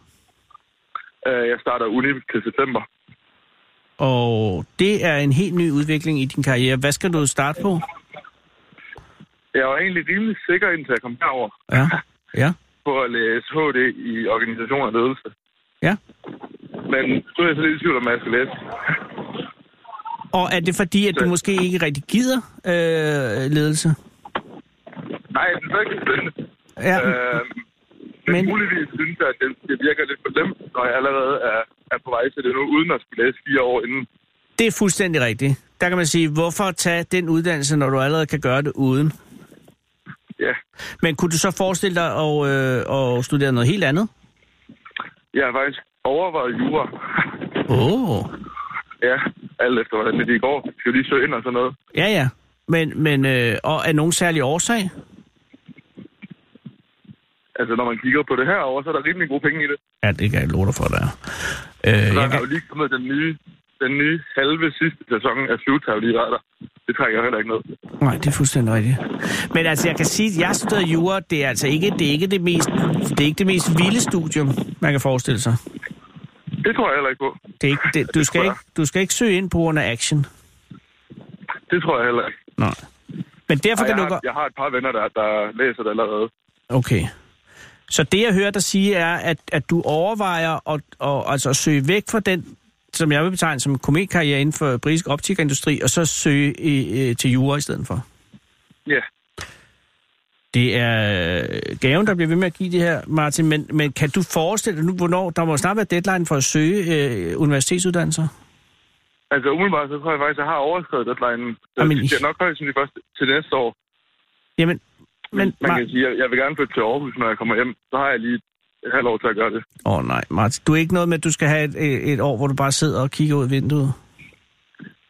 Speaker 3: Øh, jeg starter uni til september.
Speaker 4: Og det er en helt ny udvikling i din karriere. Hvad skal du starte på?
Speaker 3: Jeg var egentlig rimelig sikker, indtil jeg kom herover
Speaker 4: Ja. Ja.
Speaker 3: på at læse HD i organisation og ledelse.
Speaker 4: Ja.
Speaker 3: Men nu er jeg så lidt i tvivl om, hvad jeg skal læse.
Speaker 4: Og er det fordi, at du måske ikke rigtig gider øh, ledelse?
Speaker 3: Nej, jeg synes ikke, det er spændende.
Speaker 4: Ja.
Speaker 3: Øh, men,
Speaker 4: Men-
Speaker 3: men muligvis synes jeg, at det, det virker lidt for dem, når jeg allerede er, er på vej til det nu, uden at skulle læse fire år inden.
Speaker 4: Det er fuldstændig rigtigt. Der kan man sige, hvorfor tage den uddannelse, når du allerede kan gøre det uden?
Speaker 3: Ja.
Speaker 4: Men kunne du så forestille dig at, øh, at studere noget helt andet?
Speaker 3: Jeg har faktisk overvejet jura.
Speaker 4: Åh. Oh.
Speaker 3: ja, alt efter hvordan det går. Skal jo lige søge ind og sådan noget.
Speaker 4: Ja, ja. Men, men øh, og af nogen særlig årsag?
Speaker 3: Altså, når man kigger på det her over, så er der rimelig gode penge i det.
Speaker 4: Ja, det kan jeg love dig for, der er. Øh,
Speaker 3: Så
Speaker 4: jeg
Speaker 3: der er jo
Speaker 4: kan,
Speaker 3: lige kommet den nye, den nye halve sidste sæson af Suits, har jo lige været der. Det trækker jeg heller ikke ned.
Speaker 4: nej, det er fuldstændig rigtigt. Men altså, jeg kan sige, at jeg studerer jura, det er altså ikke det, er ikke det, mest, det, er ikke det mest vilde studium, man kan forestille sig.
Speaker 3: Det tror jeg heller ikke på.
Speaker 4: Det er ikke, det, du, skal ikke, du skal ikke søge ind på grund af action.
Speaker 3: Det tror jeg heller ikke.
Speaker 4: Nej. Men derfor
Speaker 3: Ej, jeg,
Speaker 4: kan du
Speaker 3: har,
Speaker 4: godt...
Speaker 3: jeg har et par venner, der, der læser det allerede.
Speaker 4: Okay. Så det, jeg hører dig sige, er, at, at du overvejer at, at, altså at søge væk fra den, som jeg vil betegne som kometkarriere inden for britisk optikerindustri, og så søge i, øh, til jura i stedet for.
Speaker 3: Ja.
Speaker 4: Det er øh, gaven, der bliver ved med at give det her, Martin, men, men kan du forestille dig nu, hvornår der må snart være deadline for at søge øh, universitetsuddannelser?
Speaker 3: Altså umiddelbart, så tror jeg faktisk, at jeg har overskrevet deadline.
Speaker 4: Jamen,
Speaker 3: Jamen, det er nok højst sandsynligt først til næste år.
Speaker 4: Jamen, men...
Speaker 3: Man
Speaker 4: Mar-
Speaker 3: kan sige, at jeg vil gerne flytte til Aarhus, når jeg kommer hjem. Så har jeg lige et halvt år til at gøre det.
Speaker 4: Åh oh, nej, Martin, du er ikke noget med, at du skal have et, øh, et år, hvor du bare sidder og kigger ud af vinduet?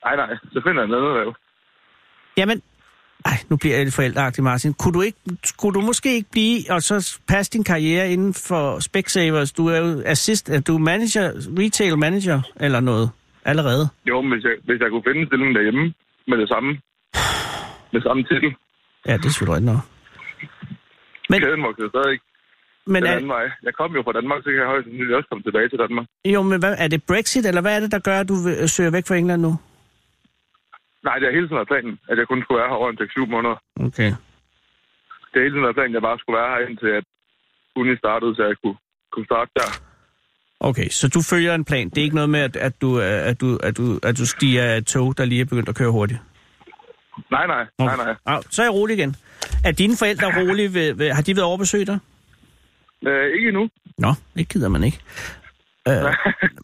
Speaker 3: Nej, nej, så finder jeg noget andet erhverv.
Speaker 4: Jamen, ej, nu bliver jeg lidt forældreagtig, Martin. Kunne du, ikke, kunne du måske ikke blive, og så passe din karriere inden for Specsavers? Du er jo assist, er du manager, retail manager eller noget allerede.
Speaker 3: Jo, men hvis jeg, hvis jeg kunne finde en stilling derhjemme med det samme, med samme titel,
Speaker 4: Ja, det er selvfølgelig rigtigt nok. Men-
Speaker 3: men... kæden voksede stadig ikke
Speaker 4: Men
Speaker 3: den
Speaker 4: er,
Speaker 3: anden vej. Jeg kom jo fra Danmark, så kan jeg højst sandsynligt også komme tilbage til Danmark.
Speaker 4: jo, men hvad, er det Brexit, eller hvad er det, der gør, at du vil- søger væk fra England nu?
Speaker 3: Nej, det har hele tiden været planen, at jeg kun skulle være her over en 6-7 måneder.
Speaker 4: Okay.
Speaker 3: Det har hele tiden været planen, at jeg bare skulle være her indtil at uni startede, så jeg kunne, kunne starte der.
Speaker 4: Okay, så du følger en plan. Det er ikke noget med, at, at, du, øh, at, du, at, du, at du stiger af et tog, der lige er begyndt at køre hurtigt?
Speaker 3: Nej, nej, nej, nej.
Speaker 4: Au, så er jeg rolig igen. Er dine forældre rolige? Ved, ved, har de været overbesøgt dig?
Speaker 3: Øh, ikke endnu.
Speaker 4: Nå, det gider man ikke. Øh,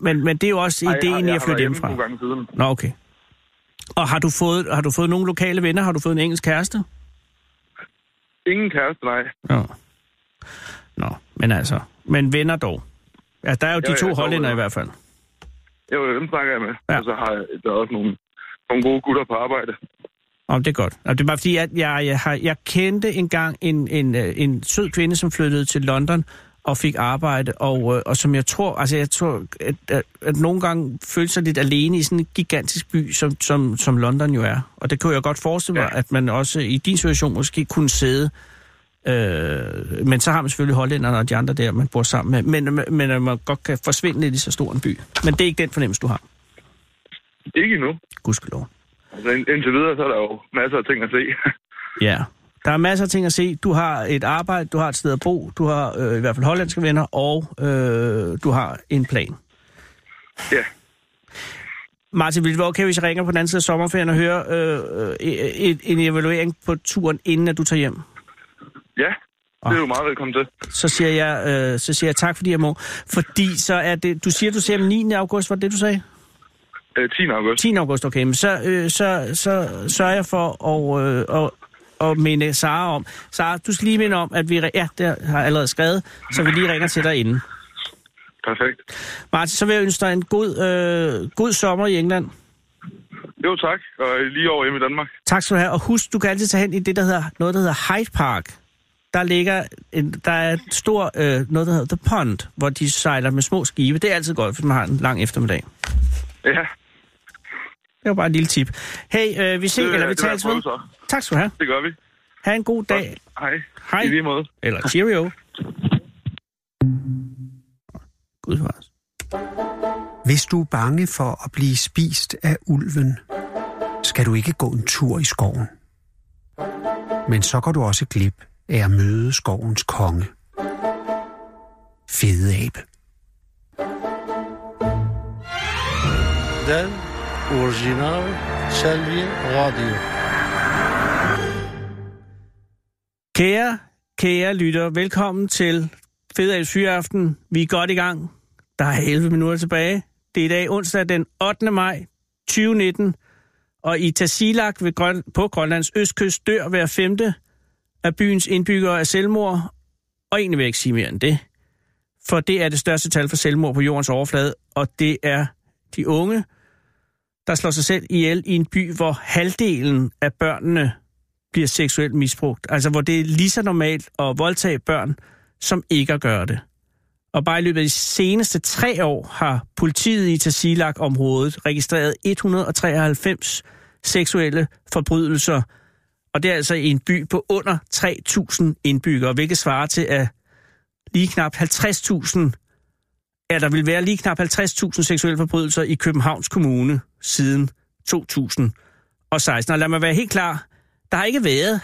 Speaker 4: men, men det er jo også
Speaker 3: Ej,
Speaker 4: ideen i at
Speaker 3: har
Speaker 4: flytte
Speaker 3: været hjemme
Speaker 4: hjemmefra.
Speaker 3: nogle gange siden.
Speaker 4: Nå, okay. Og har du, fået, har du fået nogle lokale venner? Har du fået en engelsk kæreste?
Speaker 3: Ingen kæreste, nej.
Speaker 4: Nå. Nå, men altså. Men venner dog. Altså, der er jo de
Speaker 3: Jo,
Speaker 4: to
Speaker 3: ja, dog
Speaker 4: hollænder
Speaker 3: venner.
Speaker 4: i hvert fald.
Speaker 3: Jo, dem snakker jeg med.
Speaker 4: Ja.
Speaker 3: Ja. Og så har jeg, der er også nogle, nogle gode gutter på arbejde.
Speaker 4: Om det er godt. Og det er bare fordi, at jeg, jeg, har, jeg kendte engang en, en, øh, en sød kvinde, som flyttede til London og fik arbejde, og, øh, og som jeg tror, altså jeg tror, at, at, at nogle gange følte sig lidt alene i sådan en gigantisk by, som, som, som London jo er. Og det kunne jeg godt forestille mig, ja. at man også i din situation måske kunne sidde, øh, men så har man selvfølgelig hollænderne og de andre der, man bor sammen med, men, men- men at man godt kan forsvinde lidt i så stor en by. Men det er ikke den fornemmelse, du har,
Speaker 3: Ikke endnu.
Speaker 4: gudskelov.
Speaker 3: Altså, ind- indtil videre, så er der jo masser af ting at se.
Speaker 4: Ja. Der er masser af ting at se. Du har et arbejde, du har et sted at bo, du har øh, i hvert fald hollandske venner, og øh, du har en plan.
Speaker 3: ja.
Speaker 4: Martin, vil det være okay, hvis jeg ringer på den anden side af sommerferien og hører øh, øh, et, en evaluering på turen, inden at du tager hjem?
Speaker 3: Ja,
Speaker 4: Ah.
Speaker 3: det er du meget velkommen til.
Speaker 4: Så siger jeg, øh, så siger jeg tak, fordi jeg må. Fordi så er det... Du siger, du ser den 9. august, var det det, du sagde?
Speaker 3: Øh, 10. august.
Speaker 4: 10. august, okay. Men så, øh, så, så sørger jeg for at, øh, at, at minde Sara om. Sara, du skal lige minde om, at vi... re- Ja, der har jeg allerede skrevet, så vi lige ringer til dig inden.
Speaker 3: Perfekt.
Speaker 4: Martin, så vil jeg ønske dig en god, øh, god sommer i England.
Speaker 3: Jo, tak. Og lige over hjemme i Danmark.
Speaker 4: Tak skal du have. Og husk, du kan altid tage hen i det, der hedder, noget, der hedder Hyde Park. Der ligger en, der er et stor, øh, noget, der hedder The Pond, hvor de sejler med små skibe. Det er altid godt, hvis man har en lang eftermiddag.
Speaker 3: Ja,
Speaker 4: Det var bare et lille tip. Hey, øh, vi ses,
Speaker 3: Det, øh,
Speaker 4: eller vi
Speaker 3: det vil jeg
Speaker 4: tales
Speaker 3: prøve
Speaker 4: ved.
Speaker 3: så.
Speaker 4: Tak skal du have.
Speaker 3: det gør vi.
Speaker 4: Ha' en god dag.
Speaker 3: Hej.
Speaker 4: Hej.
Speaker 3: I lige måde.
Speaker 4: Eller cheerio. Gud, hvor
Speaker 2: Hvis du er bange for at blive spist af ulven, skal du ikke gå en tur i skoven. Men så går du også glip af at møde skovens konge. Fede abe.
Speaker 9: Den originale Salvia Radio.
Speaker 4: Kære, kære lytter, velkommen til Fedal Syreaften. Vi er godt i gang. Der er 11 minutter tilbage. Det er i dag onsdag den 8. maj 2019, og i Tasilak ved Grøn, på Grønlands østkyst dør hver femte af byens indbyggere af selvmord, og egentlig vil jeg ikke sige mere end det. for det er det største tal for selvmord på jordens overflade, og det er de unge, der slår sig selv ihjel i en by, hvor halvdelen af børnene bliver seksuelt misbrugt. Altså, hvor det er lige så normalt at voldtage børn, som ikke at gøre det. Og bare i løbet af de seneste tre år har politiet i Tasilak-området registreret 193 seksuelle forbrydelser, og det er altså i en by på under 3.000 indbyggere, hvilket svarer til, at lige knap 50.000, at der vil være lige knap 50.000 seksuelle forbrydelser i Københavns Kommune siden 2016. Og lad mig være helt klar, der har ikke været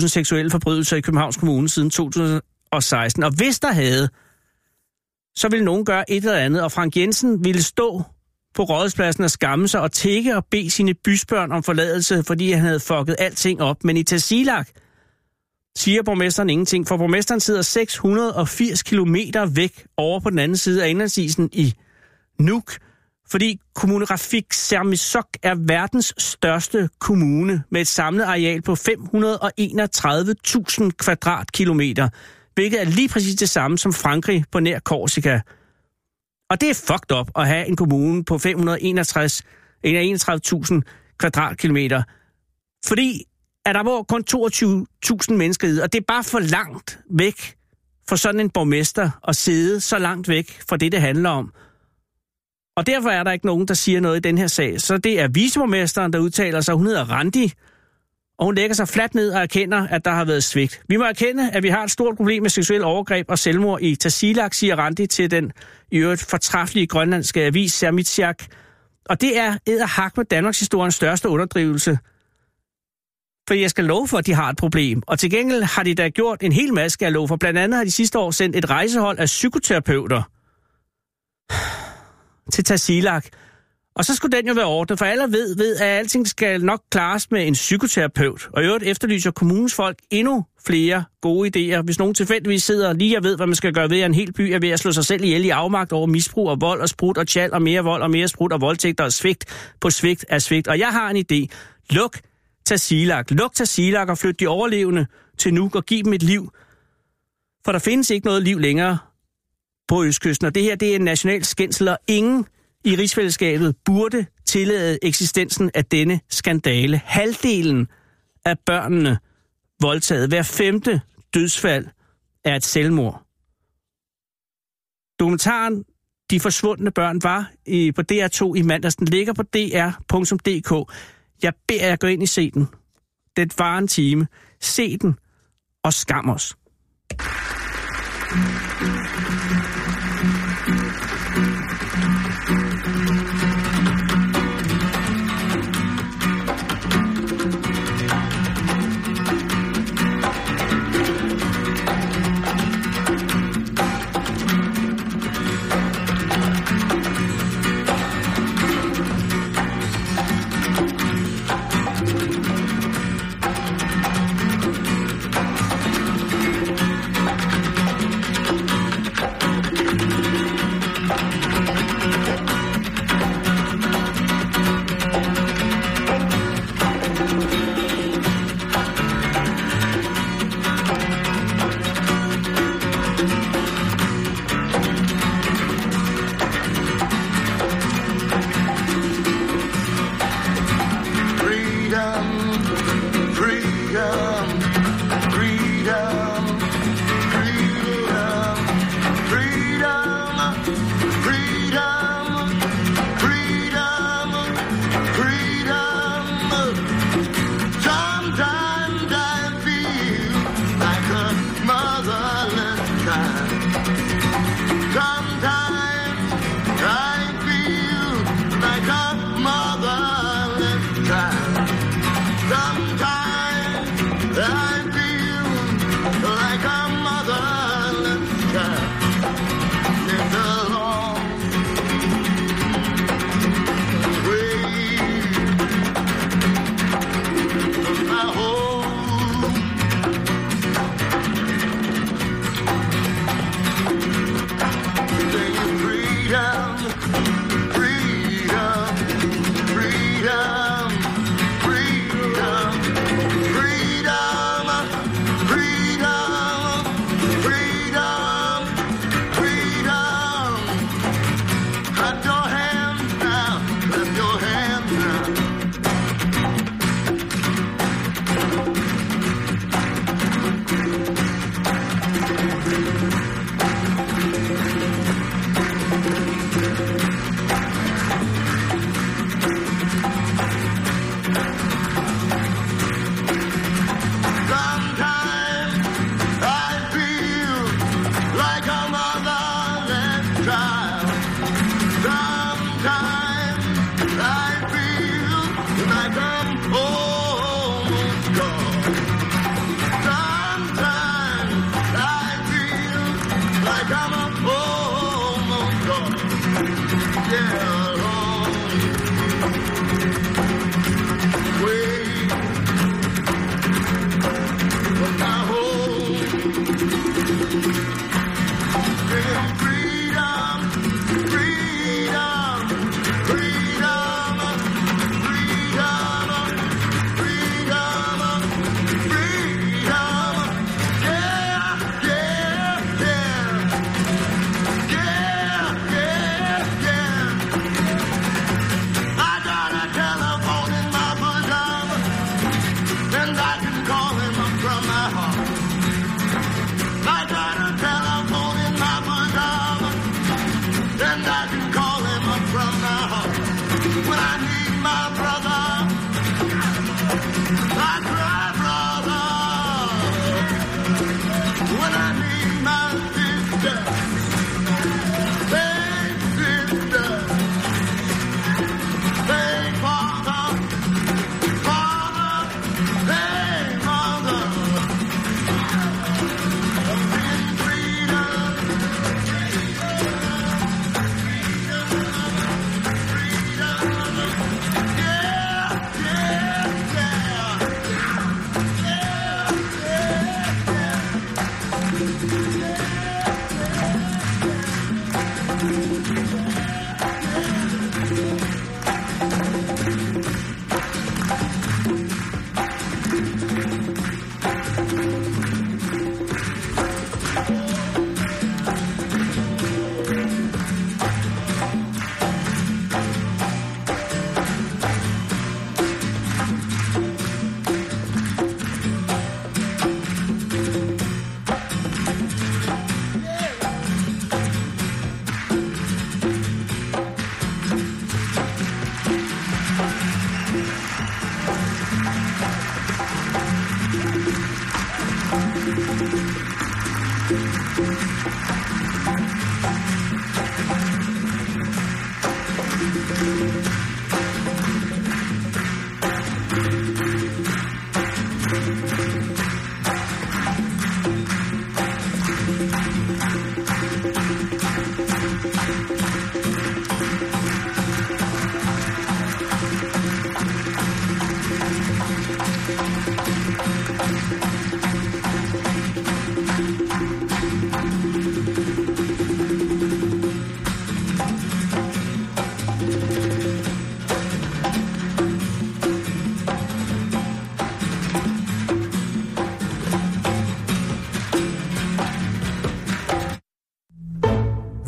Speaker 4: 50.000 seksuelle forbrydelser i Københavns Kommune siden 2016. Og hvis der havde, så ville nogen gøre et eller andet, og Frank Jensen ville stå på rådspladsen og skamme sig og tække og bede sine bysbørn om forladelse, fordi han havde fucket alting op. Men i Tassilak siger borgmesteren ingenting, for borgmesteren sidder 680 km væk over på den anden side af indlandsisen i Nuuk, fordi kommune Rafik Sermisok er verdens største kommune med et samlet areal på 531.000 kvadratkilometer, hvilket er lige præcis det samme som Frankrig på nær Korsika. Og det er fucked up at have en kommune på 561 31.000 kvadratkilometer. Fordi at der bor kun 22.000 mennesker i, og det er bare for langt væk for sådan en borgmester at sidde så langt væk fra det, det handler om. Og derfor er der ikke nogen, der siger noget i den her sag. Så det er viceborgmesteren, der udtaler sig. Hun hedder Randi, og hun lægger sig fladt ned og erkender, at der har været svigt. Vi må erkende, at vi har et stort problem med seksuel overgreb og selvmord i Tasilak, siger Randi til den i øvrigt fortræffelige grønlandske avis Sermitsiak. Og det er edderhak med Danmarks historiens største underdrivelse. For jeg skal love for, at de har et problem. Og til gengæld har de da gjort en hel masse, skal jeg love for. Blandt andet har de sidste år sendt et rejsehold af psykoterapeuter til Tasilak. Og så skulle den jo være ordnet, for alle ved, ved at alting skal nok klares med en psykoterapeut. Og i øvrigt efterlyser kommunens folk endnu flere gode idéer. Hvis nogen tilfældigvis sidder lige og ved, hvad man skal gøre ved, at en hel by er ved at slå sig selv ihjel i afmagt over misbrug og vold og sprut og tjal og mere vold og mere sprut og voldtægter og svigt på svigt af svigt. Og jeg har en idé. Luk Tasilak. Luk Tasilak og flyt de overlevende til nu og giv dem et liv. For der findes ikke noget liv længere på Østkysten, og det her det er en national skændsel, og ingen i rigsfællesskabet burde tillade eksistensen af denne skandale. Halvdelen af børnene voldtaget, hver femte dødsfald er et selvmord. Dokumentaren De forsvundne børn var i, på DR2 i mandags. Den ligger på dr.dk. Jeg beder jer gå ind i se den. Den var en time. Se den og skam os.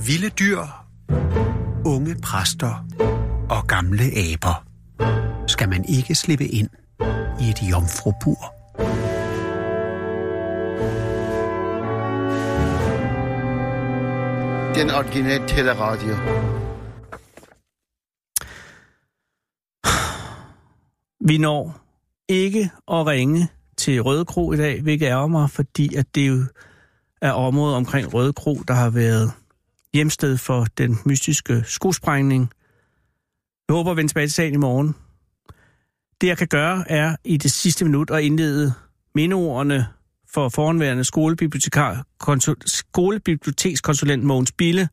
Speaker 2: Vilde dyr, unge præster og gamle aber skal man ikke slippe ind i et jomfrubur.
Speaker 9: Den originale teleradio.
Speaker 4: Vi når ikke at ringe til Røde Kro i dag, hvilket ærger mig, fordi at det jo er området omkring Røde Kro, der har været hjemsted for den mystiske skruesprængning. Jeg håber at vende tilbage til sagen i morgen. Det, jeg kan gøre, er i det sidste minut at indlede mindeordene for foranværende skolebibliotekar, konsul, skolebibliotekskonsulent Mogens Bille.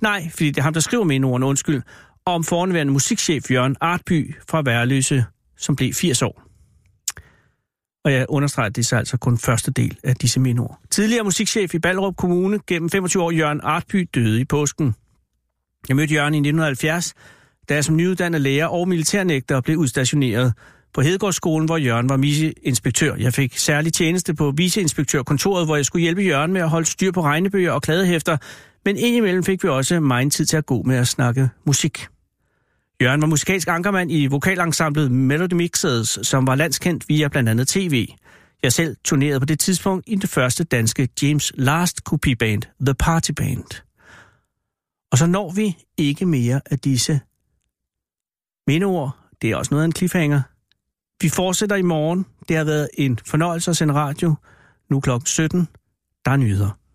Speaker 4: Nej, fordi det er ham, der skriver mindeordene, undskyld. Og om foranværende musikchef Jørgen Artby fra Værløse, som blev 80 år. Og jeg understreger, at det er så altså kun første del af disse mindeord. Tidligere musikchef i Ballerup Kommune gennem 25 år, Jørgen Artby, døde i påsken. Jeg mødte Jørgen i 1970, da jeg som nyuddannet lærer og militærnægter blev udstationeret på Hedegaardsskolen, hvor Jørgen var viceinspektør. Jeg fik særlig tjeneste på viceinspektørkontoret, hvor jeg skulle hjælpe Jørgen med at holde styr på regnebøger og kladehæfter, men indimellem fik vi også meget tid til at gå med at snakke musik. Jørgen var musikalsk ankermand i vokalensemblet Melody Mixers, som var landskendt via blandt andet tv. Jeg selv turnerede på det tidspunkt i det første danske James Last kopiband, The Party Band. Og så når vi ikke mere af disse mindeord. Det er også noget af en cliffhanger. Vi fortsætter i morgen. Det har været en fornøjelse at sende radio. Nu klokken 17. Der er nyheder.